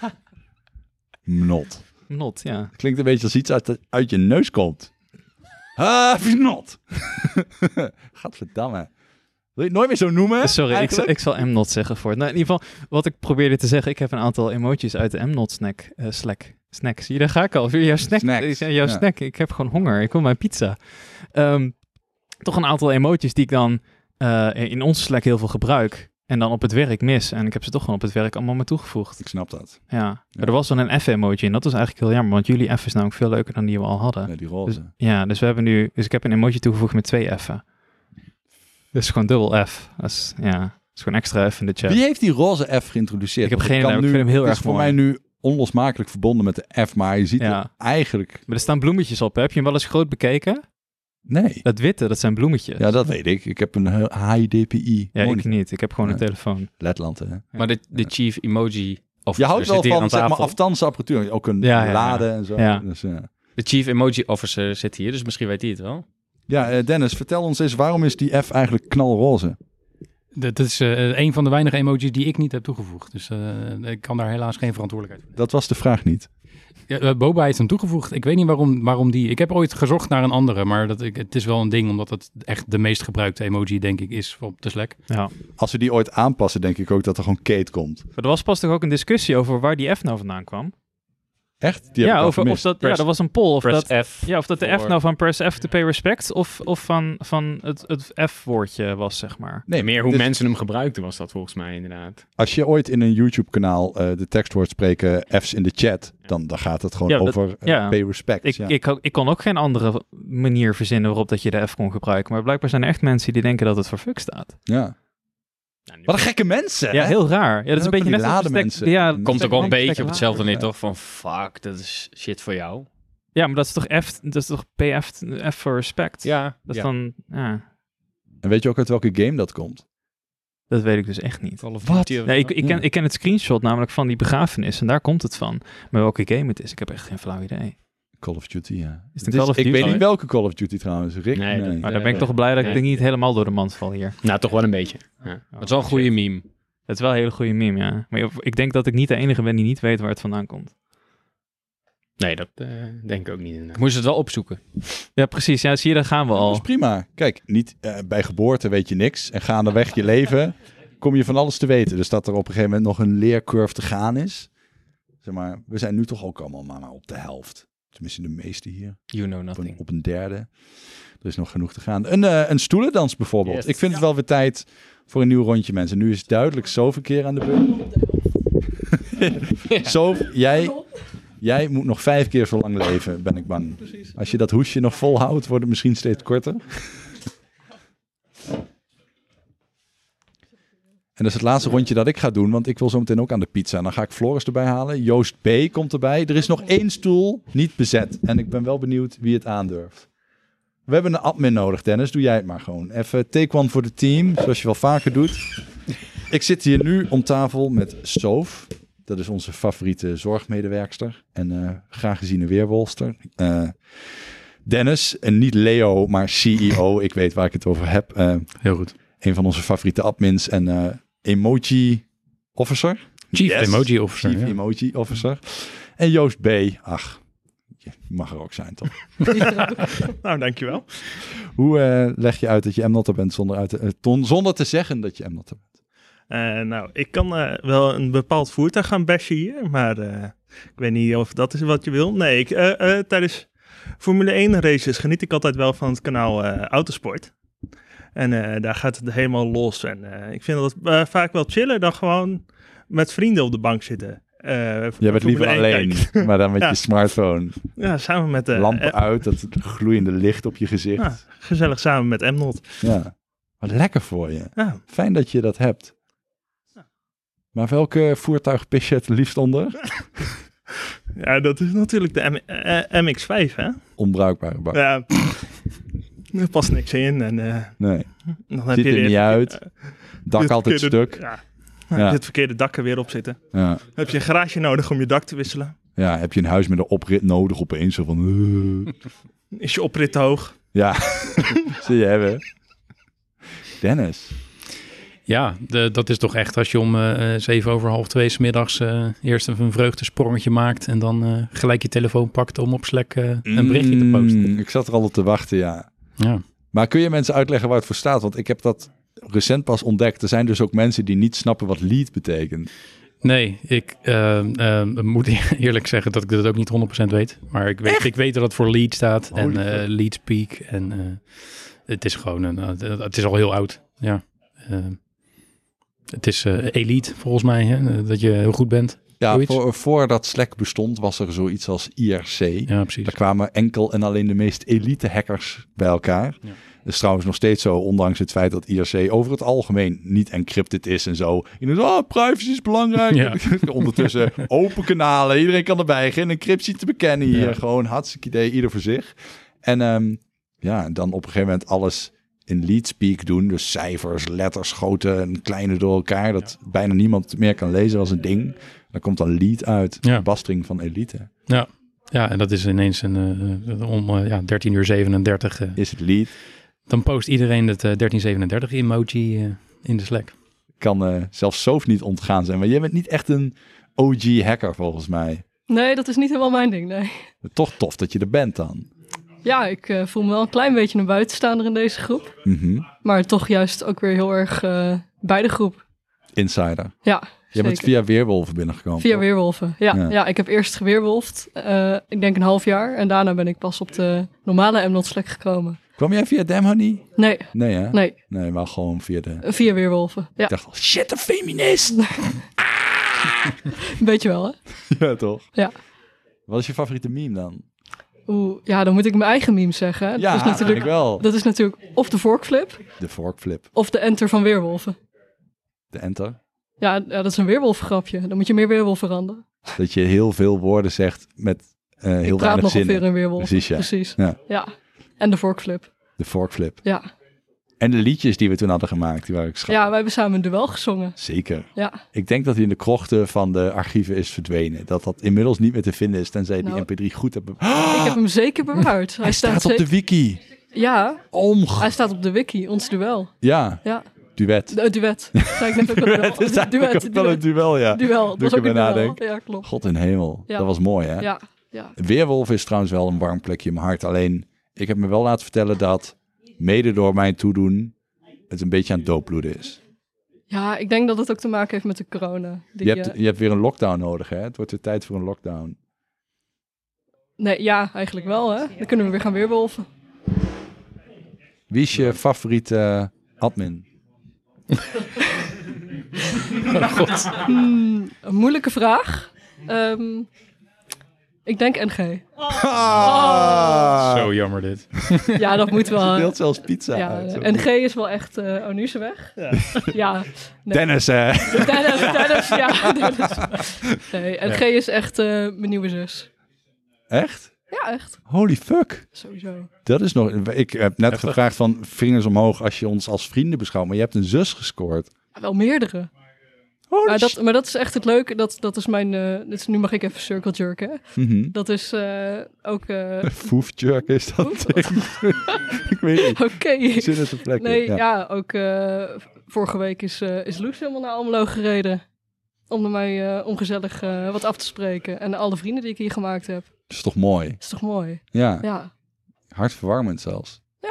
A: Not.
G: Not, ja.
A: Klinkt een beetje als iets uit, de- uit je neus komt. Ah, not. Gadverdamme. Wil je het nooit meer zo noemen?
G: Sorry, ik, zal-
A: eigenlijk?
G: ik zal M-not zeggen voor het. Nou, in ieder geval, wat ik probeerde te zeggen, ik heb een aantal emoties uit de M-not snack, eh, slack. Snack, zie je, daar ga ik al. Jouw snack,
A: Snacks,
G: eh, jouw
A: ja.
G: snack. ik heb gewoon honger, ik wil mijn pizza. Ehm, toch een aantal emoties die ik dan eh, in onze slack heel veel gebruik en dan op het werk mis. En ik heb ze toch gewoon op het werk allemaal maar toegevoegd.
A: Ik snap dat.
G: Ja, Maar er was dan een F-emoji en dat was eigenlijk heel jammer, want jullie F is namelijk veel leuker dan die we al hadden.
A: Ja, die
G: Dus,
A: roze.
G: ja, dus we hebben nu, dus ik heb een emoji toegevoegd met twee F'en. Dus gewoon dubbel F. Dat is, ja, dat is gewoon extra F in de chat.
A: Wie heeft die roze F
G: Ik
A: geïntroduceerd?
G: heb
A: Want
G: geen
A: kan
G: idee, maar
A: nu-
G: ik vind hem heel
A: het
G: erg
A: is voor
G: mooi.
A: mij nu onlosmakelijk verbonden met de F, maar je ziet
G: Ja.
A: er eigenlijk...
G: Maar er staan bloemetjes op. hè? Heb je hem wel eens groot bekeken?
A: Nee.
G: Dat witte, dat zijn bloemetjes.
A: Ja, dat weet ik. Ik heb een heel HIDPI.
G: Ja, ik
A: monitor.
G: niet. Ik heb gewoon
A: Ja.
G: een telefoon.
A: Letland, hè.
I: Maar de, de chief emoji... Of
A: Je houdt wel van, zeg maar, afstandse apparatuur. Ook een
G: Ja, ja, ja.
A: lade en zo.
G: Ja.
A: Dus, ja.
I: De chief emoji officer zit hier, dus misschien weet hij het wel.
A: Ja, eh, Dennis, vertel ons eens, waarom is die F eigenlijk knalroze?
J: Dat is eh, een van de weinige emojis die ik niet heb toegevoegd. Dus eh, ik kan daar helaas geen verantwoordelijkheid voor.
A: Dat was de vraag niet.
J: Ja, eh, Boba heeft hem toegevoegd. Ik weet niet waarom, waarom die. Ik heb ooit gezocht naar een andere, maar dat, ik, het is wel een ding omdat het echt de meest gebruikte emoji, denk ik, is op de Slack.
G: Ja.
A: Als we die ooit aanpassen, denk ik ook dat er gewoon Kate komt.
G: Maar er was pas toch ook een discussie over waar die F nou vandaan kwam?
A: Echt? Die heb
G: ja,
A: ik al
G: over of
A: gemist.
G: dat, ja,
I: Press-
G: dat was een poll. Of dat,
I: F.
G: ja, of dat de F
I: voor-
G: nou van press F to pay respect of, of van, van het, het F-woordje was, zeg maar.
A: Nee,
H: Meer hoe
A: dus
H: mensen hem gebruikten was dat volgens mij inderdaad.
A: Als je ooit in een YouTube-kanaal eh, de tekst hoort spreken, F's in de chat, dan, dan gaat het gewoon
G: Ja, dat-
A: over eh,
G: ja.
A: pay respect.
G: Ik,
A: ja.
G: ik, ho- ik kon ook geen andere manier verzinnen waarop dat je de F kon gebruiken. Maar blijkbaar zijn er echt mensen die denken dat het voor fuck staat.
A: Ja.
H: Nou, nu-
A: Wat een gekke mensen!
G: Ja,
A: hè?
G: heel raar. Ja, dat is
A: ook
G: een beetje
A: van die
G: net als
A: lade
G: bestek-
A: mensen.
G: Ja,
A: Komt
I: Komt
G: bestek-
I: ook wel een
G: bestek-
I: beetje op hetzelfde neer,
A: Ja.
I: toch? Van fuck, dat is shit voor jou.
G: Ja, maar dat is toch F, dat is toch PF, F voor respect?
I: Ja.
G: Dat
I: ja.
G: is dan, ja,
A: En weet je ook uit welke game dat komt?
G: dat weet ik dus echt niet.
I: Call of
G: Wat?
I: Duty of
G: Nee,
I: zo.
G: ik, ik, ken,
A: Ja.
G: ik ken het screenshot namelijk van die begrafenis en daar komt het van. Maar welke game het is, ik heb echt geen flauw idee.
A: Call of Duty, ja.
G: Is het een
A: Dit
G: Call of
A: Ik
G: Duty? Oh,
A: weet niet welke Call of Duty trouwens, Rick.
H: Nee, dat-
G: Maar
H: Ja,
G: dan ben ik
H: ja.
G: toch blij dat ik
H: Ja.
G: denk niet helemaal door de mand val hier. Oh,
H: Nou, toch wel een beetje.
I: Dat is wel een goede meme.
G: Het is wel een hele goede meme, ja. Maar ik denk dat ik niet de enige ben die niet weet waar het vandaan komt.
H: Nee, dat eh, denk ik ook niet
I: Ik
H: inderdaad.
I: moest het wel opzoeken.
G: Ja, precies. Ja, zie je, daar gaan we
A: Dat is
G: al.
A: prima. Kijk, niet, eh, bij geboorte weet je niks. En gaandeweg je leven kom je van alles te weten. Dus dat er op een gegeven moment nog een leercurve te gaan is. Zeg maar, we zijn nu toch ook allemaal maar op de helft. Tenminste de meeste hier.
I: You know
A: Op een,
I: nothing.
A: op een derde. Er is nog genoeg te gaan. Een, eh, een stoelendans bijvoorbeeld.
I: Yes.
A: Ik vind het wel weer tijd voor een nieuw rondje mensen. Nu is het duidelijk zoveel keer aan de beurt. Zo, jij, jij moet nog vijf keer zo lang leven, ben ik bang. Als je dat hoesje nog volhoudt, wordt het misschien steeds korter. En dat is het laatste rondje dat ik ga doen, want ik wil zo meteen ook aan de pizza. En dan ga ik Floris erbij halen. Joost B. komt erbij. Er is nog één stoel niet bezet. En ik ben wel benieuwd wie het aandurft. We hebben een admin nodig, Dennis. Doe jij het maar gewoon. Even take one voor het team, zoals je wel vaker doet. Ik zit hier nu om tafel met Soof. Dat is onze favoriete zorgmedewerkster. En eh, graag geziene weerwolster. Eh, Dennis, en niet Leo, maar CEO. Ik weet waar ik het over heb. Eh,
J: Heel goed.
A: een van onze favoriete admins en eh, emoji officer.
J: Chief
A: Yes.
J: Emoji Officer.
A: Chief
J: ja.
A: emoji officer. En Joost B. Ach, je mag er ook zijn toch?
D: Nou, dankjewel.
A: Hoe eh, leg je uit dat je Mnotter bent zonder, uit te, eh, ton- zonder te zeggen dat je Mnotter bent?
D: Eh, nou, ik kan eh, wel een bepaald voertuig gaan bashen hier, maar eh, ik weet niet of dat is wat je wil. Nee, ik, eh, eh, tijdens Formule 1 races geniet ik altijd wel van het kanaal eh, Autosport. En eh, daar gaat het helemaal los. En eh, ik vind dat eh, vaak wel chiller dan gewoon met vrienden op de bank zitten. Eh,
A: Jij
D: Formule
A: bent liever
D: 1
A: alleen,
D: kijken.
A: maar dan met
D: Ja.
A: je smartphone.
D: Ja, samen met eh, de
A: Lampen uit, dat gloeiende licht op je
J: Ah.
A: gezicht.
D: gezellig samen met Emnot.
A: Ja. Wat lekker voor je.
D: Ja.
A: Fijn dat je dat hebt. Maar welke voertuig pis je het liefst onder?
D: ja, dat is natuurlijk de M- eh, MX-5, hè?
A: Onbruikbare bak.
D: Ja, er past niks in. En, eh,
A: Nee,
D: dan heb
A: Ziet
D: je
A: er
D: weer-
A: niet uit.
D: eh,
A: dak
D: dit
A: altijd
D: verkeerde-
A: stuk.
D: Ja,
A: Ja.
D: ja. het verkeerde dak er weer op zitten.
A: Ja.
D: Heb je een garage nodig om je dak te wisselen?
A: ja, heb je een huis met een oprit nodig opeens? Zo van... eh.
D: Is je oprit te hoog?
A: Ja, zie je hebben. Dennis,
J: Ja, de- dat is toch echt als je om eh, eh, zeven over half twee 's middags eh, eerst even een vreugdesprongetje maakt en dan eh, gelijk je telefoon pakt om op Slack eh, een berichtje te posten.
A: Mm, ik zat er al op te wachten, ja.
J: Ja.
A: Maar kun je mensen uitleggen waar het voor staat? Want ik heb dat recent pas ontdekt. Er zijn dus ook mensen die niet snappen wat lead betekent.
J: Nee, ik ehm, ehm, moet eerlijk zeggen dat ik dat ook niet 100% weet. Maar ik weet, ik weet dat het voor lead staat en eh lead speak. En eh, het is gewoon een, eh, het is al heel oud. Ja. Ehm, het is eh, elite volgens mij, hè, eh, dat je heel goed bent.
A: Ja,
J: Zoiets.
A: voor, voordat Slack bestond was er zoiets als IRC.
J: Ja, precies.
A: Daar kwamen enkel en alleen de meest elite hackers bij elkaar.
J: Ja.
A: Dat is trouwens nog steeds zo, ondanks het feit dat IRC over het algemeen niet encrypted is en zo. Je denkt, oh, privacy is belangrijk. Ondertussen open kanalen, iedereen kan erbij. Geen encryptie te bekennen hier.
J: Ja.
A: Gewoon hartstikke idee, ieder voor zich. En ehm, ja, en dan op een gegeven moment alles in lead speak doen. Dus cijfers, letters, grote en kleine door elkaar. Dat bijna niemand meer kan lezen als een ding. Dan komt dan lead uit.
J: Ja.
A: Bastering van elite.
J: Ja, en dat is ineens een, eh, om eh, ja, 13 uur 37. eh,
A: Is het lead?
J: dan post iedereen het eh, 1337 emoji eh, in de Slack.
A: Kan eh, zelfs Sof niet ontgaan zijn. Maar jij bent niet echt een OG-hacker volgens mij.
K: Nee, dat is niet helemaal mijn ding, nee.
A: Toch tof dat je er bent dan.
K: Ja, ik eh, voel me wel een klein beetje een buitenstaander in deze groep.
A: Mhm.
K: Maar toch juist ook weer heel erg eh, bij de groep.
A: Insider.
K: Ja,
A: Jij bent
K: zeker.
A: via Weerwolven binnengekomen.
K: Via weerwolven, ja.
A: Ja.
K: ja. ik heb eerst geweerwolfd, eh, ik denk een half jaar. En daarna ben ik pas op de normale m slek gekomen.
A: Kwam jij via Damn Honey?
K: Nee,
A: Nee, hè?
K: nee,
A: Nee, maar gewoon via de...
K: via weerwolven. Ja,
A: Ik dacht al, shit, een feminist!
K: een beetje wel, hè?
A: ja, toch?
K: Eh. Ja.
A: Wat is je favoriete meme dan?
K: Oeh, ja, dan moet ik mijn eigen meme zeggen. hè.
A: ja,
K: dat, is natuurlijk,
A: ik wel.
K: dat is natuurlijk of de vorkflip
A: De forkflip.
K: of de enter van weerwolven.
A: De enter.
K: Ja, ja, dat is een weerwolfgrapje. Dan moet je meer weerwolf veranderen.
A: Dat je heel veel woorden zegt met eh, heel
K: ik praat
A: weinig
K: nog weer
A: zinnen.
K: een weerwolf.
A: Precies, ja.
K: Precies.
A: Ja.
K: Ja. En de vorkflip,
A: De forkflip.
K: ja.
A: En de liedjes die we toen hadden gemaakt, die waren ik schat.
K: Ja, wij hebben samen een duel gezongen.
A: Zeker.
K: Ja,
A: Ik denk dat hij in de krochten van de archieven is verdwenen. Dat dat inmiddels niet meer te vinden is, tenzij je
K: Nou,
A: die mp3 goed hebt. be-
K: ik heb hem zeker bewaard. Hij,
A: Ah! Hij staat op
K: ze-
A: de wiki.
K: Ja,
A: Omg.
K: hij staat op de wiki, ons duel.
A: Ja,
K: Ja,
A: duet.
K: de, het duet. Zei ik net ook al duel.
A: Het is eigenlijk ook wel een duel, ja.
K: duel. Het
A: Doe ik
K: was ook
A: erbij
K: een duel.
A: nadenken.
K: Ja, klopt.
A: God in hemel.
K: Ja.
A: Dat was mooi, hè?
K: Ja, ja.
A: Weerwolf is trouwens wel een warm plekje in mijn hart. Alleen, ik heb me wel laten vertellen dat, mede door mijn toedoen, het een beetje aan het doodbloeden is.
K: ja, ik denk dat het ook te maken heeft met de corona. Die,
A: Je hebt,
K: eh,
A: je hebt weer een lockdown nodig, hè? Het wordt weer tijd voor een lockdown.
K: nee, ja, eigenlijk wel, hè. Dan kunnen we weer gaan weerwolven.
A: Wie is je favoriete eh, admin? Oh,
K: Hmm, een moeilijke vraag. Ehm, ik denk NG.
J: Zo jammer dit.
K: Ja, dat moet wel.
A: Ze
K: hè.
A: deelt Ah. zelfs pizza
K: Ja,
A: uit.
K: NG is wel echt... eh oh, nu is ze weg. Ja. nee.
A: Dennis, hè?
K: Dennis, Dennis, ja. Dennis. Nee, NG is echt eh, mijn nieuwe zus.
A: Echt?
K: Ja, echt.
A: Holy fuck.
K: Sowieso.
A: Dat is nog... Ik heb net gevraagd van vingers omhoog als je ons als vrienden beschouwt. Maar je hebt een zus gescoord.
K: Wel meerdere.
A: Holy
K: Maar
A: shit.
K: dat, maar dat is echt het leuke. Dat, dat is mijn. eh, dus nu mag ik even circle jerken. hè.
A: Mhm.
K: Dat is eh, ook. eh,
A: Foefjerk is dat. ik weet niet.
K: Oké.
A: Ik zit het op plek.
K: Nee, ja, ook. eh, vorige week is, eh, is Loes helemaal naar Almelo gereden. Om naar mij eh, om gezellig eh, wat af te spreken. En alle vrienden die ik hier gemaakt heb.
A: Dat is toch mooi?
K: Is toch mooi?
A: Ja,
K: Ja.
A: hartverwarmend zelfs.
K: Ja.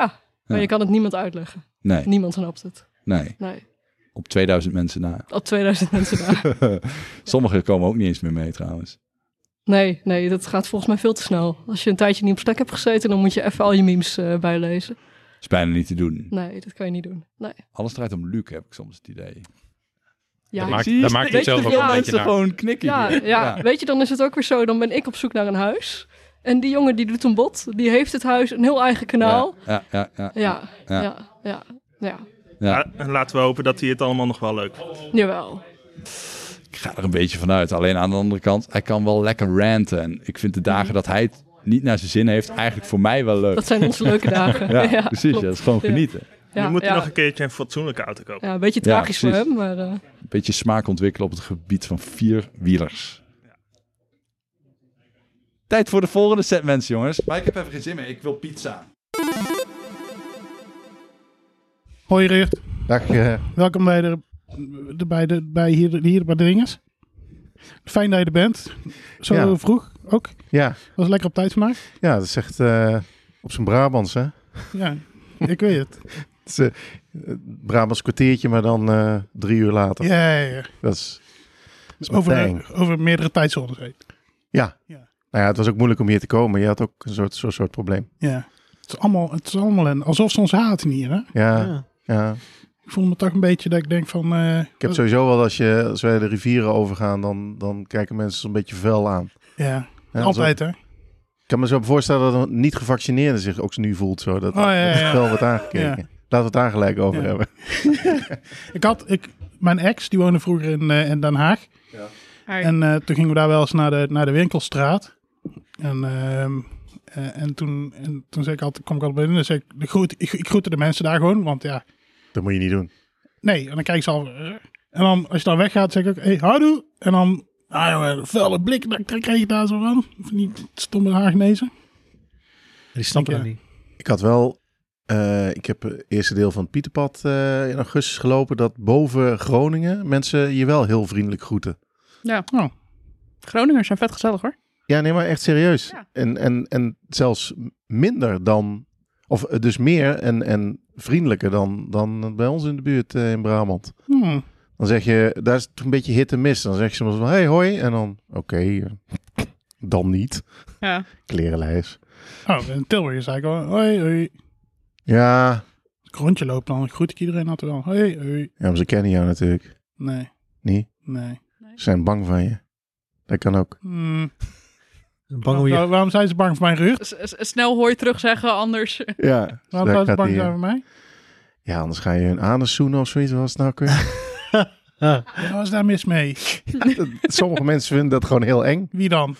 A: Ja.
K: Maar je kan het niemand uitleggen.
A: Nee,
K: Niemand snapt het.
A: nee.
K: Nee.
A: Op 2000 mensen na.
K: Al 2000 mensen daar.
A: Sommigen komen ook niet eens meer mee trouwens.
K: Nee, nee, dat gaat volgens mij veel te snel. Als je een tijdje niet op stek hebt gezeten, dan moet je even al je memes eh, bijlezen.
A: is bijna niet te doen.
K: Nee, dat kan je niet doen. Nee.
A: Alles draait om Luc, heb ik soms het idee.
K: Ja,
J: maakt- daar maakt hij zelf ook
K: wel een beetje
A: mensen
J: naar.
A: gewoon knikken
K: Ja,
A: hier.
K: ja, weet je, dan is het ook weer zo. Dan ben ik op zoek naar een huis. En die jongen die doet een bot. Die heeft het huis, een heel eigen kanaal.
A: Ja, ja, ja. ja.
K: Ja,
A: Ja.
K: ja, ja. ja,
L: Ja, en laten we hopen dat hij het allemaal nog wel leuk vindt.
K: Jawel.
A: Ik ga er een beetje vanuit. Alleen aan de andere kant, hij kan wel lekker ranten. En ik vind de dagen dat hij het niet naar zijn zin heeft, eigenlijk voor mij wel leuk.
K: Dat zijn onze leuke dagen.
A: Ja, precies. Ja,
K: klopt.
A: dat is gewoon
K: Ja.
A: genieten.
K: Ja,
L: nu moet hij
K: ja.
L: nog een keertje een fatsoenlijke auto kopen.
K: Ja, een beetje
A: Ja,
K: tragisch voor
A: precies.
K: hem, maar eh,
A: Een beetje smaak ontwikkelen op het gebied van vierwielers. Tijd voor de volgende set, mensen, jongens. Maar ik heb even geen zin meer. Ik wil pizza.
M: Hoi Richt,
N: Dag, eh,
M: welkom bij, de, de, bij, de, bij hier, hier bij de Ringers. Fijn dat je er bent. Zo
N: Ja.
M: vroeg ook.
N: ja.
M: Was lekker op tijd vandaag.
N: ja, dat is echt eh, op zijn Brabants, hè?
M: Ja, ik weet het.
N: Het is, eh, het Brabants kwartiertje, maar dan eh, drie uur later.
M: Ja, ja, ja.
N: Dat is, dat is meteen.
M: Dus Over, eh, over meerdere tijdzones heen.
N: Ja.
M: Ja.
N: Nou ja, het was ook moeilijk om hier te komen. Je had ook een soort, zo'n soort probleem.
M: Ja. Het is allemaal, het is allemaal en alsof ze ons haten hier. Hè?
N: Ja, ja.
M: Ik voel me toch een beetje dat ik denk van... eh,
N: Ik heb sowieso wel, als, je, als wij de rivieren overgaan, dan, dan kijken mensen een beetje vuil aan.
M: Ja,
N: Ja,
M: altijd hè.
N: Ik kan me zo voorstellen dat een niet-gevaccineerde zich ook nu voelt zo. Dat
M: Oh, ja, ja, ja.
N: wel wordt aangekeken.
M: Ja.
N: Laten we het daar gelijk over
M: Ja.
N: hebben.
M: Ik had, ik, mijn ex, die woonde vroeger in, eh, in Den Haag. En eh, toen gingen we daar wel eens naar de, naar de winkelstraat. En, ehm, eh, en, toen, en toen zei ik altijd, kom ik altijd binnen. Dan zei ik, de groet, ik, ik groette de mensen daar gewoon, want ja,
N: Dat moet je niet doen.
M: nee. En dan kijk ze al. eh. En dan, als je dan weggaat, zeg ik ook, hey, houdoe. En dan Ah jongen, vuile blik, daar daar krijg je daar zo van. Of niet stomme Haagnezen.
C: Die snappen
M: Ik,
C: dat
M: eh,
C: niet.
N: Ik had wel. eh, ik heb het eerste deel van het Pieterpad eh, in augustus gelopen. Dat boven Groningen mensen je wel heel vriendelijk groeten.
O: Ja.
M: Oh. Groningers zijn vet gezellig hoor.
N: Ja, nee, maar echt serieus. En, en, en zelfs minder dan. Of eh, dus meer en, en vriendelijker dan, dan bij ons in de buurt eh, in Brabant.
M: Hmm.
N: Dan zeg je, daar is het een beetje hit en miss. Dan zeg je soms van, hey, hoi. En dan, oké, eh, dan niet.
O: Ja.
N: Klerenlijst.
M: Oh, in Tilburg is eigenlijk wel, hoi, hoi.
N: Ja,
M: Als ik rondje loop, dan groet ik iedereen altijd wel. Hoi, hoi.
N: ja, maar ze kennen jou natuurlijk.
M: Nee,
N: Niet?
M: nee.
N: Ze zijn bang van je. Dat kan ook.
M: Hmm.
D: Bang
N: om je-
M: Waar- waarom zijn ze bang voor mijn gerucht?
O: S- s- Snel hoor je terug zeggen, anders...
N: Ja. dus
M: Waarom
N: daar
M: zou ze
N: gaat
M: bang
N: die,
M: zijn
N: eh,
M: voor mij?
N: Ja, anders ga je hun anus zoenen of zoiets. Wat is het nou weer?
M: Ja, Wat is daar mis mee?
N: Sommige mensen vinden dat gewoon heel eng.
M: Wie dan?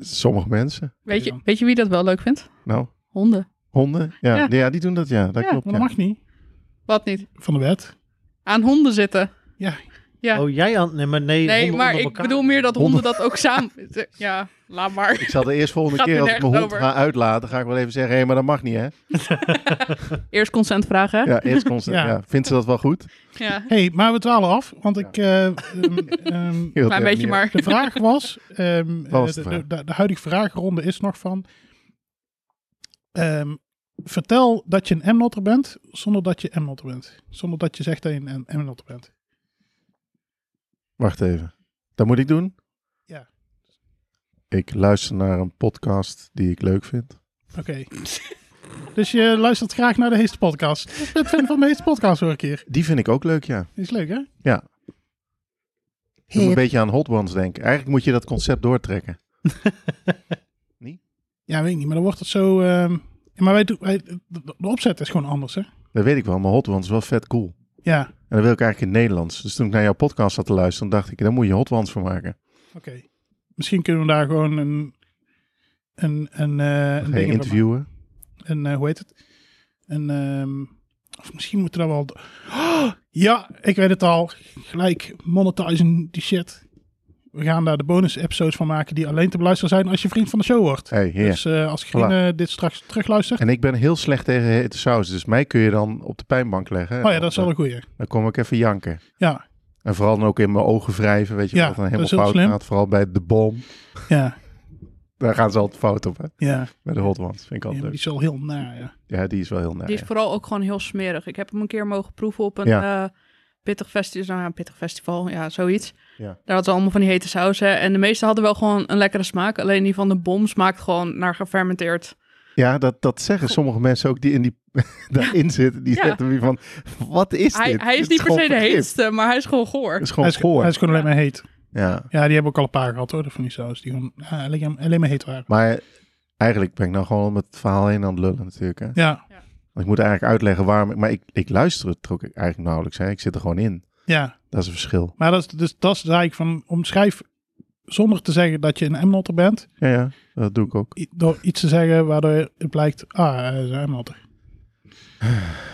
N: Sommige mensen.
O: Weet je, weet je wie dat wel leuk vindt?
N: Nou,
O: Honden.
N: honden. Ja,
O: Ja.
N: ja. die doen dat. Ja, dat
O: Ja,
N: klopt.
O: maar
N: ja.
O: dat
M: mag niet.
O: Wat niet?
M: Van de wet.
O: Aan honden zitten.
M: Ja.
O: ja.
P: Oh, jij aan... Nee, maar nee.
O: nee,
P: honden
O: maar
P: onder
O: ik
P: elkaar.
O: bedoel meer dat honden dat ook samen... Ja, laat maar.
N: Ik zal de eerst volgende
O: Gaat
N: keer
O: nu
N: als ik mijn hond
O: nergens over.
N: ga uitlaten, ga ik wel even zeggen, hé, maar dat mag niet, hè?
O: Eerst consent vragen, hè?
N: Ja, eerst constant. ja. Vindt ze dat wel goed?
O: Ja.
M: hey, maar we dwalen af, want ik... eh, ehm, ehm,
N: Heel Klein beetje term, ja. maar.
M: De vraag was... ehm,
N: Wat was
M: eh,
N: de
M: de,
N: vraag?
M: de, de huidige vraagronde is nog van... ehm, vertel dat je een M-notter bent, zonder dat je M-notter bent. Zonder dat je zegt dat je een M-notter bent.
N: Wacht even. Dat moet ik doen?
M: Ja.
N: Ik luister naar een podcast die ik leuk vind.
M: Oké. dus je luistert graag naar de Heeste Podcast. Ik ben fan van de Heeste Podcast hoor ik hier.
N: Die vind ik ook leuk, ja.
M: Die is leuk, hè?
N: Ja. Ik moet een beetje aan Hot Ones denken. Eigenlijk moet je dat concept doortrekken.
M: Ja, weet ik niet, maar dan wordt het zo... ehm, maar wij, doen- wij, de- de opzet is gewoon anders, hè?
N: Dat weet ik wel, maar Hot Ones is wel vet cool.
M: Ja.
N: En dat wil ik eigenlijk in het Nederlands. Dus toen ik naar jouw podcast zat te luisteren, dacht ik, daar moet je Hot Ones voor maken.
M: Oké. Misschien kunnen we daar gewoon een. Een. Een, eh, een
N: Ga je
M: ding van
N: interviewen?
M: maken. Een. eh, hoe heet het? Een. ehm, of misschien moeten we daar wel. Oh, ja, ik weet het al. Gelijk monetizen die shit. We gaan daar de bonus-episodes van maken die alleen te beluisteren zijn als je vriend van de show wordt.
N: Hey, hier.
M: Dus eh, als Green
N: Voilà.
M: eh, dit straks terugluistert.
N: En ik ben heel slecht tegen hete saus, dus mij kun je dan op de pijnbank leggen.
M: Oh ja, dat is wel een goeie.
N: Dan kom ik even janken.
M: Ja.
N: En vooral dan ook in mijn ogen wrijven, weet je,
M: Ja,
N: wat dan
M: dat
N: helemaal
M: is heel
N: fout
M: slim.
N: gaat. Vooral bij de bom.
M: Ja.
N: Daar gaan ze altijd fout op, hè?
M: Ja.
N: Bij de hot ones, vind ik altijd
M: Die
N: leuk.
M: is wel heel naar, ja.
N: Ja, die is wel heel
O: Die
N: naar.
O: is vooral ook gewoon heel smerig. Ik heb hem een keer mogen proeven op een
N: Ja.
O: eh, pittig festival. Nou ja, een pittig festival, ja, zoiets.
N: Ja.
O: Daar hadden ze allemaal van die hete sausen. En de meeste hadden wel gewoon een lekkere smaak. Alleen die van de bom smaakt gewoon naar gefermenteerd.
N: Ja, dat, dat zeggen sommige mensen ook die, in die daarin zitten. Die
O: Ja.
N: zetten weer van, wat is
O: hij,
N: dit?
O: hij is
N: Dit
O: niet per
N: gewoon
O: se de
N: vergif.
O: heetste, maar hij is gewoon goor.
N: Het is gewoon
M: hij, is,
N: goor.
M: hij is gewoon alleen maar heet.
N: Ja.
M: Ja, die hebben we ook al een paar gehad hoor, van die saus. Die gewoon ja, alleen, alleen maar heet waren.
N: Maar eigenlijk ben ik nou gewoon om het verhaal heen aan het lullen natuurlijk. Hè?
M: Ja.
N: Want ik moet eigenlijk uitleggen waarom. ik- Maar ik, ik luister het ook eigenlijk nauwelijks. Hè? Ik zit er gewoon in.
M: Ja.
N: Dat is een verschil.
M: Maar dat is, dus, dat is eigenlijk van omschrijf zonder te zeggen dat je een M-notter bent.
N: Ja, ja, dat doe ik ook.
M: i- Door iets te zeggen waardoor het blijkt, ah, hij is een M-notter.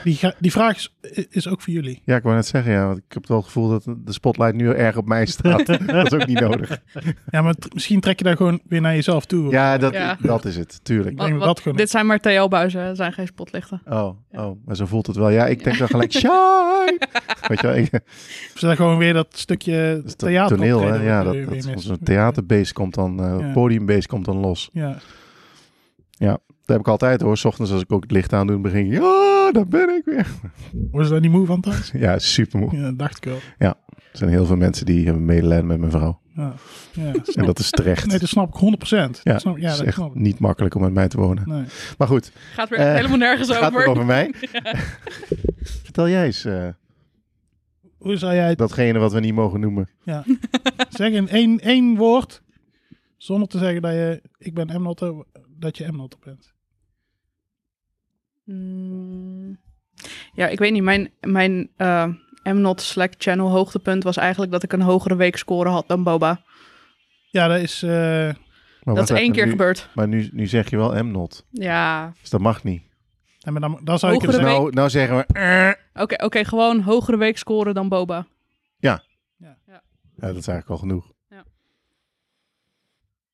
M: Die, ga- die vraag is, is ook voor jullie.
N: Ja, ik wou net zeggen, ja, want ik heb het wel het gevoel dat de spotlight nu erg op mij staat. dat is ook niet nodig.
M: Ja, maar t- misschien trek je daar gewoon weer naar jezelf toe.
N: Ja, dat,
O: Ja.
N: dat is het, tuurlijk.
M: Ik denk dat dat gewoon
O: dit zijn maar TL-buizen, het zijn geen spotlichten.
N: Oh, oh, maar zo voelt het wel. Ja, ik denk dan gelijk, shy! Weet je wel, ik-
M: Of ze daar gewoon weer dat stukje
N: dat
M: theater
N: toneel, hè?
M: optreden
N: Ja,
M: weer-
N: dat,
M: weer
N: dat
M: mis.
N: zo'n theaterbeest komt dan, eh
M: Ja.
N: podiumbeest komt dan los.
M: Ja.
N: Ja, dat heb ik altijd hoor. S ochtends als ik ook het licht aan doe, dan begin ik, ja, daar ben ik weer.
M: Worden ze daar niet moe van thuis?
N: Ja, super moe.
M: Ja, dat dacht ik wel.
N: Ja, er zijn heel veel mensen die hebben medelijden met mijn vrouw.
M: Ja. Ja,
N: En dat is terecht.
M: Nee, dat snap ik 100%.
N: Ja,
M: dat snap, ja,
N: het is
M: dat
N: echt
M: snap ik.
N: niet makkelijk om met mij te wonen.
M: Nee.
N: Maar goed.
O: Gaat weer
N: Eh,
O: helemaal nergens
N: gaat
O: over.
N: weer over mij.
O: Ja.
N: Vertel jij eens eh,
M: Hoe zou jij het
N: datgene wat we niet mogen noemen.
M: Ja. zeg in één, één woord, zonder te zeggen dat je, ik ben M-notter, dat je M-notter bent.
O: Mm. Ja, ik weet niet. Mijn, mijn eh MNOT Slack channel hoogtepunt was eigenlijk dat ik een hogere weekscore had dan Boba.
M: Ja, dat is... eh,
N: Maar
O: Dat
N: wacht
O: is één
N: even,
O: keer
N: nu-
O: gebeurd.
N: Maar nu, nu zeg je wel M-not.
O: Ja.
N: Dus dat mag niet.
M: Ja, maar dan, dan zou ik
N: Dus
M: het
N: nou, nou zeggen we, eh,
O: Oké, oké, gewoon hogere weekscore dan Boba.
N: ja. ja. dat is eigenlijk al genoeg.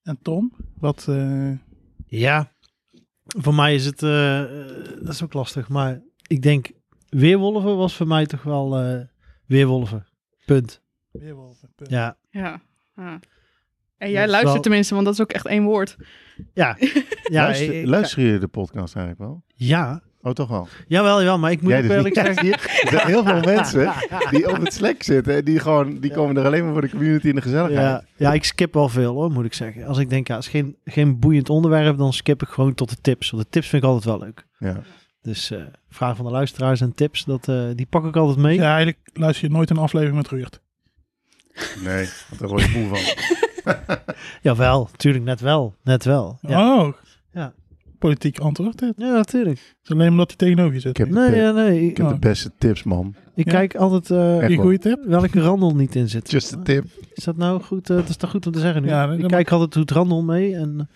M: En Tom, wat... eh,
P: Ja, voor mij is het, eh, eh, dat is ook lastig, maar ik denk Weerwolven was voor mij toch wel eh, Weerwolven. Punt.
M: Weerwolven, punt.
P: Ja.
O: Ja. ja. En
P: Dat
O: jij
P: is
O: luistert
P: wel-
O: tenminste, want dat is ook echt één woord.
P: Ja. Ja,
N: luister,
P: ik-
N: luister je de podcast eigenlijk wel?
P: Ja.
N: Oh, toch wel?
P: Jawel, jawel, maar ik moet
N: Jij
P: ook
N: dus
P: eerlijk
N: niet.
P: zeggen-
N: Er zijn heel veel mensen die op het Slack zitten. en Die, gewoon, die komen er alleen maar voor de community en de gezelligheid.
P: Ja, ja, ik skip wel veel hoor, moet ik zeggen. Als ik denk, ja, het is geen, geen boeiend onderwerp, dan skip ik gewoon tot de tips. Want de tips vind ik altijd wel leuk.
N: Ja.
P: Dus eh, vragen van de luisteraars en tips, dat, eh, die pak ik altijd mee.
M: Ja, eigenlijk luister je nooit een aflevering met Ruurt.
N: Nee, want daar word je moe van.
P: Jawel, tuurlijk, net wel. Net wel. Ja.
M: Oh.
P: Ja.
M: Politiek antwoord dit.
P: Ja, natuurlijk.
M: Het is alleen omdat hij tegenover je zit.
N: Ik heb,
P: Nee,
N: de,
P: ja, nee.
N: ik heb de beste tips, man.
P: Ik
M: Ja.
P: kijk altijd
N: Echt
P: eh
N: Die goeie
M: tip?
P: welke randel niet in zit.
N: Just a tip.
P: Is dat nou goed? eh, dat is toch goed om te zeggen nu?
M: Ja, dan-
P: ik kijk altijd doet randel mee. En,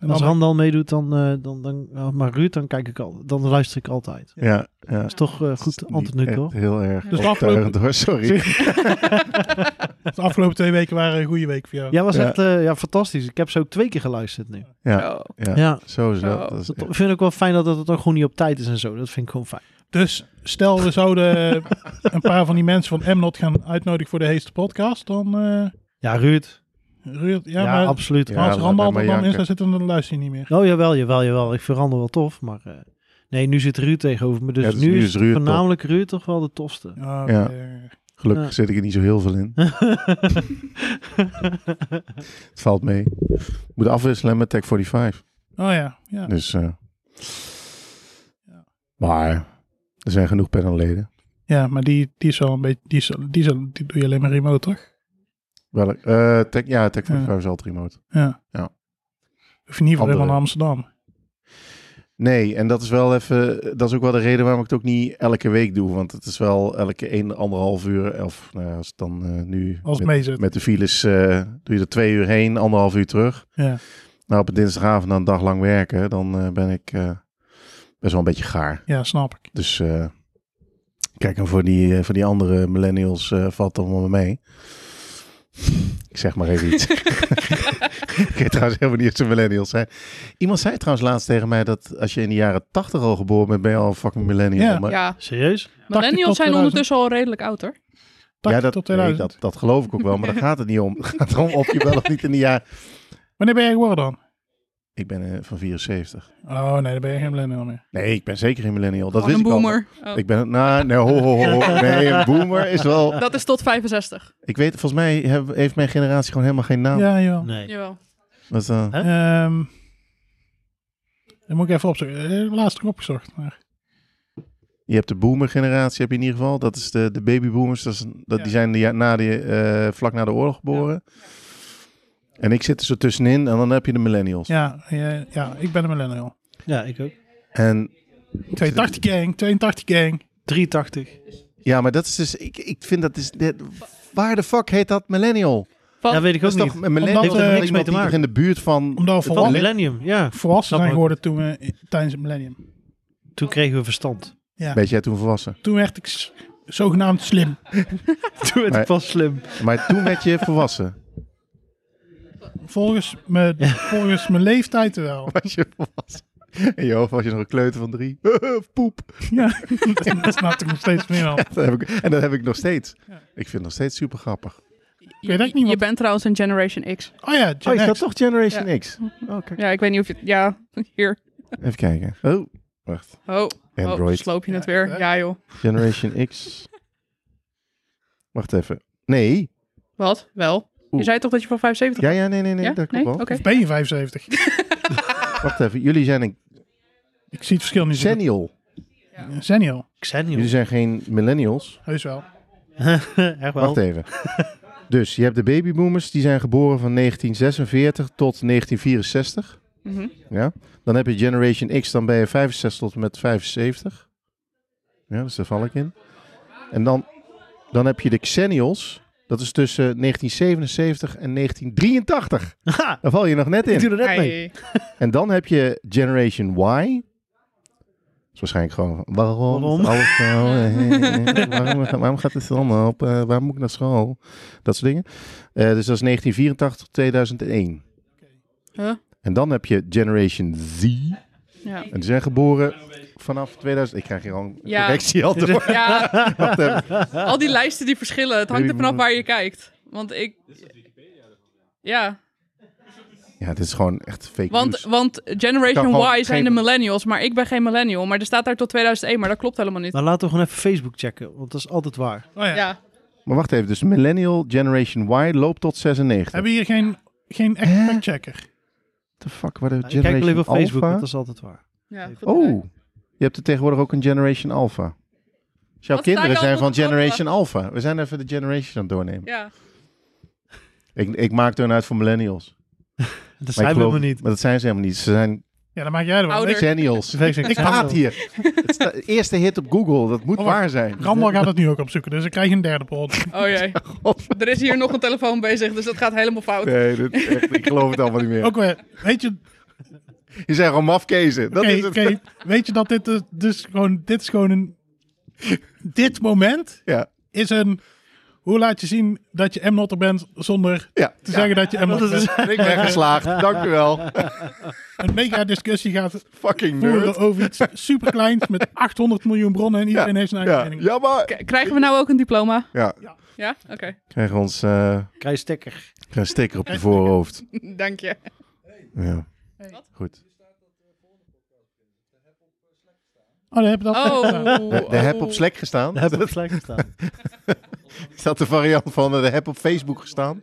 M: dan-
P: als randel meedoet, dan, eh, dan, dan, ah, maar Ruud, dan kijk ik al, dan luister ik altijd.
N: Ja, ja.
P: Dat is toch eh, goed antwoord nu,
N: echt
P: toch?
N: heel erg
M: Dus de afgelopen-
N: overtuigend, hoor. Sorry.
M: De afgelopen twee weken waren een goede week voor jou.
P: Ja, was echt eh, ja, fantastisch. Ik heb ze ook twee keer geluisterd nu.
N: Ja, ja,
P: Ja.
N: zo is
P: Zo.
N: dat. dat is
P: Ik vind ook wel fijn dat het ook gewoon niet op tijd is en zo. Dat vind ik gewoon fijn.
M: Dus stel we zouden een paar van die mensen van Mnot gaan uitnodigen voor de heeste podcast, dan... eh,
P: Ja, Ruud.
M: Ruud, ja,
P: Ja,
M: maar
P: absoluut. Ja,
M: Maar als
P: laat
M: Randal
P: mij
M: er
P: maar
M: dan in
P: janken.
M: zou zitten, dan luister je niet meer.
P: Oh, jawel, jawel, jawel. Ik verander wel tof, maar... eh, nee, nu zit Ruud tegenover me, dus,
N: Ja, dus
P: nu
N: nu
P: is,
N: is Ruud top.
P: voornamelijk Ruud toch wel de tofste.
N: Ja. Gelukkig
P: Ja.
N: zit ik er niet zo heel veel in. het valt mee. Ik moet afwisselen met Tech 45.
M: Oh ja, ja.
N: Dus, eh, Maar er zijn genoeg panelleden.
M: Ja, maar die, die is wel een beetje... Die, is, die, is, die doe je alleen maar remote, toch?
N: Welk? eh tech, ja, Tech 45
M: Ja.
N: is altijd remote.
M: Ja.
N: ja.
M: Of in ieder geval helemaal
N: Andere-
M: naar Amsterdam.
N: Nee, en dat is wel even. Dat is ook wel de reden waarom ik het ook niet elke week doe. Want het is wel elke 1, anderhalf uur. Of nou ja, als het dan eh, nu.
M: Als het mee
N: met,
M: zit.
N: met de files eh, doe je er twee uur heen, anderhalf uur terug.
M: Ja.
N: Nou, op een dinsdagavond na een dag lang werken, dan eh, ben ik eh, best wel een beetje gaar.
M: Ja, snap ik.
N: Dus eh, kijk, en voor die, eh, voor die andere millennials eh, valt dat allemaal mee. Ik zeg maar even iets. ik weet trouwens helemaal niet of ze millennials zijn. Iemand zei trouwens laatst tegen mij dat als je in de jaren tachtig al geboren bent, ben je al een fucking millennial.
O: Ja.
N: Maar-
O: Ja.
P: Serieus?
O: Millennials zijn
M: 2000.
O: ondertussen al redelijk oud, hoor.
N: Ja, dat,
M: tot
N: nee,
M: 2000.
N: dat, dat geloof ik ook wel, maar daar gaat het niet om. Het gaat erom of je wel of niet in de jaar...
M: Wanneer ben jij geworden dan?
N: Ik ben eh, van 74.
M: Oh nee, dan ben je geen millennial meer.
N: Nee, ik ben zeker geen millennial. Dat
M: Gewoon
N: wist
M: een
N: ik al.
M: boomer.
O: Oh.
N: Ik ben... Nou, nee, ho, ho, ho, ho. Nee, een boomer is wel...
O: Dat is tot 65.
N: Ik weet, volgens mij heb- heeft mijn generatie gewoon helemaal geen naam.
M: Ja, jawel.
P: Nee.
O: Jawel.
N: Dat, eh,
M: Ehm, dan moet ik even opzoeken. Eh, Laatst nog opgezocht. Maar.
N: je hebt de boomer generatie heb je in ieder geval. Dat is de, de babyboomers. Dat is, een- dat, Die zijn de, ja- na de, eh, vlak na de oorlog geboren. En ik zit er zo tussenin en dan heb je de millennials.
M: Ja, ja, ja, ik ben een millennial.
P: Ja, ik ook.
N: En
M: 82 gang, 82 gang.
P: 83.
N: Ja, maar dat is dus... Ik, ik vind dat is... dit- waar de fuck heet dat millennial?
P: Ja, weet ik
N: dat
P: ook
N: is
P: niet.
N: toch een millennial?
P: Heeft er
N: is
P: niks
N: iemand
P: mee te
N: die nog
P: maken.
N: in de buurt van...
M: Omdat we
N: het
M: volwassen-
N: millennium-
P: Millennium, ja.
M: Volwassen
P: Snap
M: zijn
P: ik.
M: geworden toen we, in- tijdens het millennium.
P: Toen kregen we verstand.
M: Ja.
N: Ben jij toen volwassen?
M: Toen werd ik s- zogenaamd slim.
P: Toen
N: Maar-
P: was slim.
N: Maar toen werd je volwassen.
M: Volgens, me, volgens mijn leeftijd wel.
N: Was je volwassen? In je hoofd was je nog een kleuter van drie. Poep.
M: Ja, dat snap ik nog steeds meer al.
N: Dat heb ik, en dat heb ik nog steeds. Ik vind het nog steeds super grappig.
O: Je, je bent trouwens een Generation X.
M: Oh ja,
N: Gen Oh, is dat X. toch Generation X?
O: Ja, ik weet niet of je... Ja, hier.
N: Even kijken. Oh, wacht.
O: Oh, oh
N: Android.
O: sloop je het weer. Ja, joh.
N: Generation X. Wacht even. Nee.
O: Wat? Wel? Je
N: Oeh.
O: zei toch dat je van 75
N: Ja, ja, nee, nee, nee.
O: Ja?
N: Dat klopt
O: Nee?
N: wel.
O: Oké.
M: Of ben je 75?
N: Wacht even. Jullie zijn een
M: Ik zie het verschil niet zo goed.
N: Xennial.
M: Senior.
N: Jullie zijn geen millennials.
M: Heus wel.
P: Echt wel.
N: Wacht even. Dus je hebt de babyboomers, die zijn geboren van 1946 tot 1964.
O: Mhm.
N: Ja. Dan heb je Generation X, dan ben je 65 tot en met 75. Ja, dus daar val ik in. En dan, dan heb je de Xennials. Dat is tussen 1977 en 1983. Daar val je nog net in.
P: Ik doe er net mee.
O: Hey.
N: En dan heb je Generation Y. Dat is waarschijnlijk gewoon... Waarom? is Alles zo, eh, waarom, waarom gaat het dan op? Eh, waarom moet ik naar school? Dat soort dingen. Eh, dus dat is 1984 tot 2001.
O: Huh?
N: En dan heb je Generation Z.
O: Ja.
N: En die zijn geboren vanaf 2000. Ik krijg hier al een
O: Ja.
N: correctie altijd. hoor.
O: Ja.
N: Wacht even.
O: Al die lijsten die verschillen. Het hangt er vanaf waar je kijkt. Want ik... Ja,
N: Ja, dit is gewoon echt fake
O: want,
N: news.
O: want
N: Kan
O: Generation
N: gewoon
O: Y zijn
N: geen-
O: de millennials, maar ik ben geen millennial. Maar er staat daar tot 2001, maar dat klopt helemaal niet.
P: Maar Nou, laten we gewoon even Facebook checken, want dat is altijd waar.
O: ja.
N: Maar wacht even, dus Millennial Generation Y loopt tot 96.
M: Hebben we hier geen, geen echt factchecker?
N: The fuck, waar de
M: kijk
N: Generation
P: alleen op Facebook,
N: Alpha?
P: want dat is altijd waar.
O: Ja,
N: Oh, je hebt er tegenwoordig ook een Generation Alpha. Dus jouw
O: Wat sta
N: kinderen
O: ik
N: zijn
O: allemaal
N: van
O: te trappelen?
N: Generation Alpha. We zijn even de generations aan het doornemen.
O: Ja.
N: Ik, ik maak er een uit voor millennials.
P: Dat
M: zijn we helemaal
N: niet. Maar dat zijn ze helemaal niet. Ze zijn
M: Ja, dan maak jij er wel.
N: Ouder. Centennials. Ik haat hier. Het sta- eerste hit op Google, dat moet
M: Oh,
N: waar zijn.
M: Rambal gaat het nu ook opzoeken, dus ik krijg een derde pot.
O: Oh jee. Er is hier nog een telefoon bezig, dus dat gaat helemaal fout.
N: Nee, dat, echt, ik geloof het allemaal niet meer.
M: Ook weer, weet je...
N: Je zijn gewoon mafkezen. Dat
M: Oké,
N: is het.
M: oké, weet je dat dit dus, dus gewoon... Dit is gewoon een... Dit moment
N: Ja.
M: is een... Hoe laat je zien dat je M-notter bent zonder te
N: Ja.
M: zeggen dat je M-notter
N: Dat is-
M: bent?
N: Ik ben geslaagd, dank u wel.
M: Een mega discussie gaat
N: Fucking
M: voeren
N: nerd.
M: over iets superkleins met 800 miljoen bronnen en iedereen heeft zijn eigen
N: Ja,
M: mening.
N: jammer.
O: Krijgen we nou ook een diploma?
N: Ja,
O: Ja? Oké.
N: krijg ons eh,
P: Krijg stekker.
N: krijg een sticker op je voorhoofd.
O: Dank je.
N: Ja. Goed.
M: Oh, daar heb je dat.
N: De, de heb op Slack gestaan.
P: De heb op Slack gestaan.
N: is dat de variant van eh, de heb op Facebook gestaan?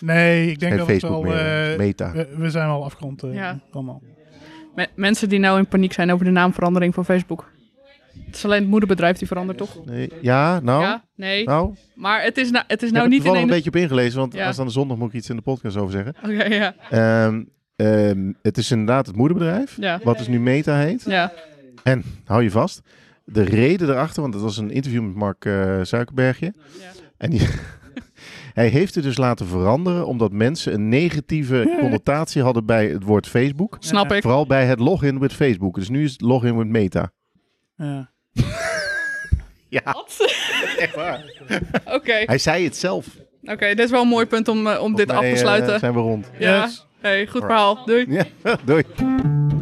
M: Nee, ik denk
N: Geen
M: dat we het
N: Facebook
M: al...
N: meer, het is
M: eh,
N: Meta.
M: We, we zijn al afgerond eh,
O: Ja.
M: allemaal.
O: Me- mensen die nou in paniek zijn over de naamverandering van Facebook. Het is alleen het moederbedrijf die verandert, toch?
N: Nee, ja, nou.
O: Ja, nee.
N: Nou,
O: Maar het is, nou, het is
N: ik heb
O: nou
N: er
O: niet
N: toevallig
O: in
N: een beetje op ingelezen, want
O: Ja.
N: als aan de zondag moet ik iets in de podcast over zeggen.
O: nou- Oké, ja.
N: Ehm, ehm, het is inderdaad het moederbedrijf,
O: Ja.
N: wat dus nu Meta heet.
O: Ja.
N: En, hou je vast, de reden erachter, want dat was een interview met Mark eh, Zuikerbergje. En die, hij heeft het dus laten veranderen, omdat mensen een negatieve connotatie hadden bij het woord Facebook.
O: Snap ik.
N: Vooral bij het login met Facebook. Dus nu is het login met Meta.
M: Ja.
N: Ja. Echt waar.
O: Oké,
N: Hij zei het zelf.
O: Oké, dit is wel een mooi punt om, eh, om dit
N: mij,
O: af te
N: eh,
O: sluiten.
N: zijn we rond.
O: Ja,
N: Yes.
O: hey, goed
N: Alright.
O: verhaal. Doei.
N: Ja, doei.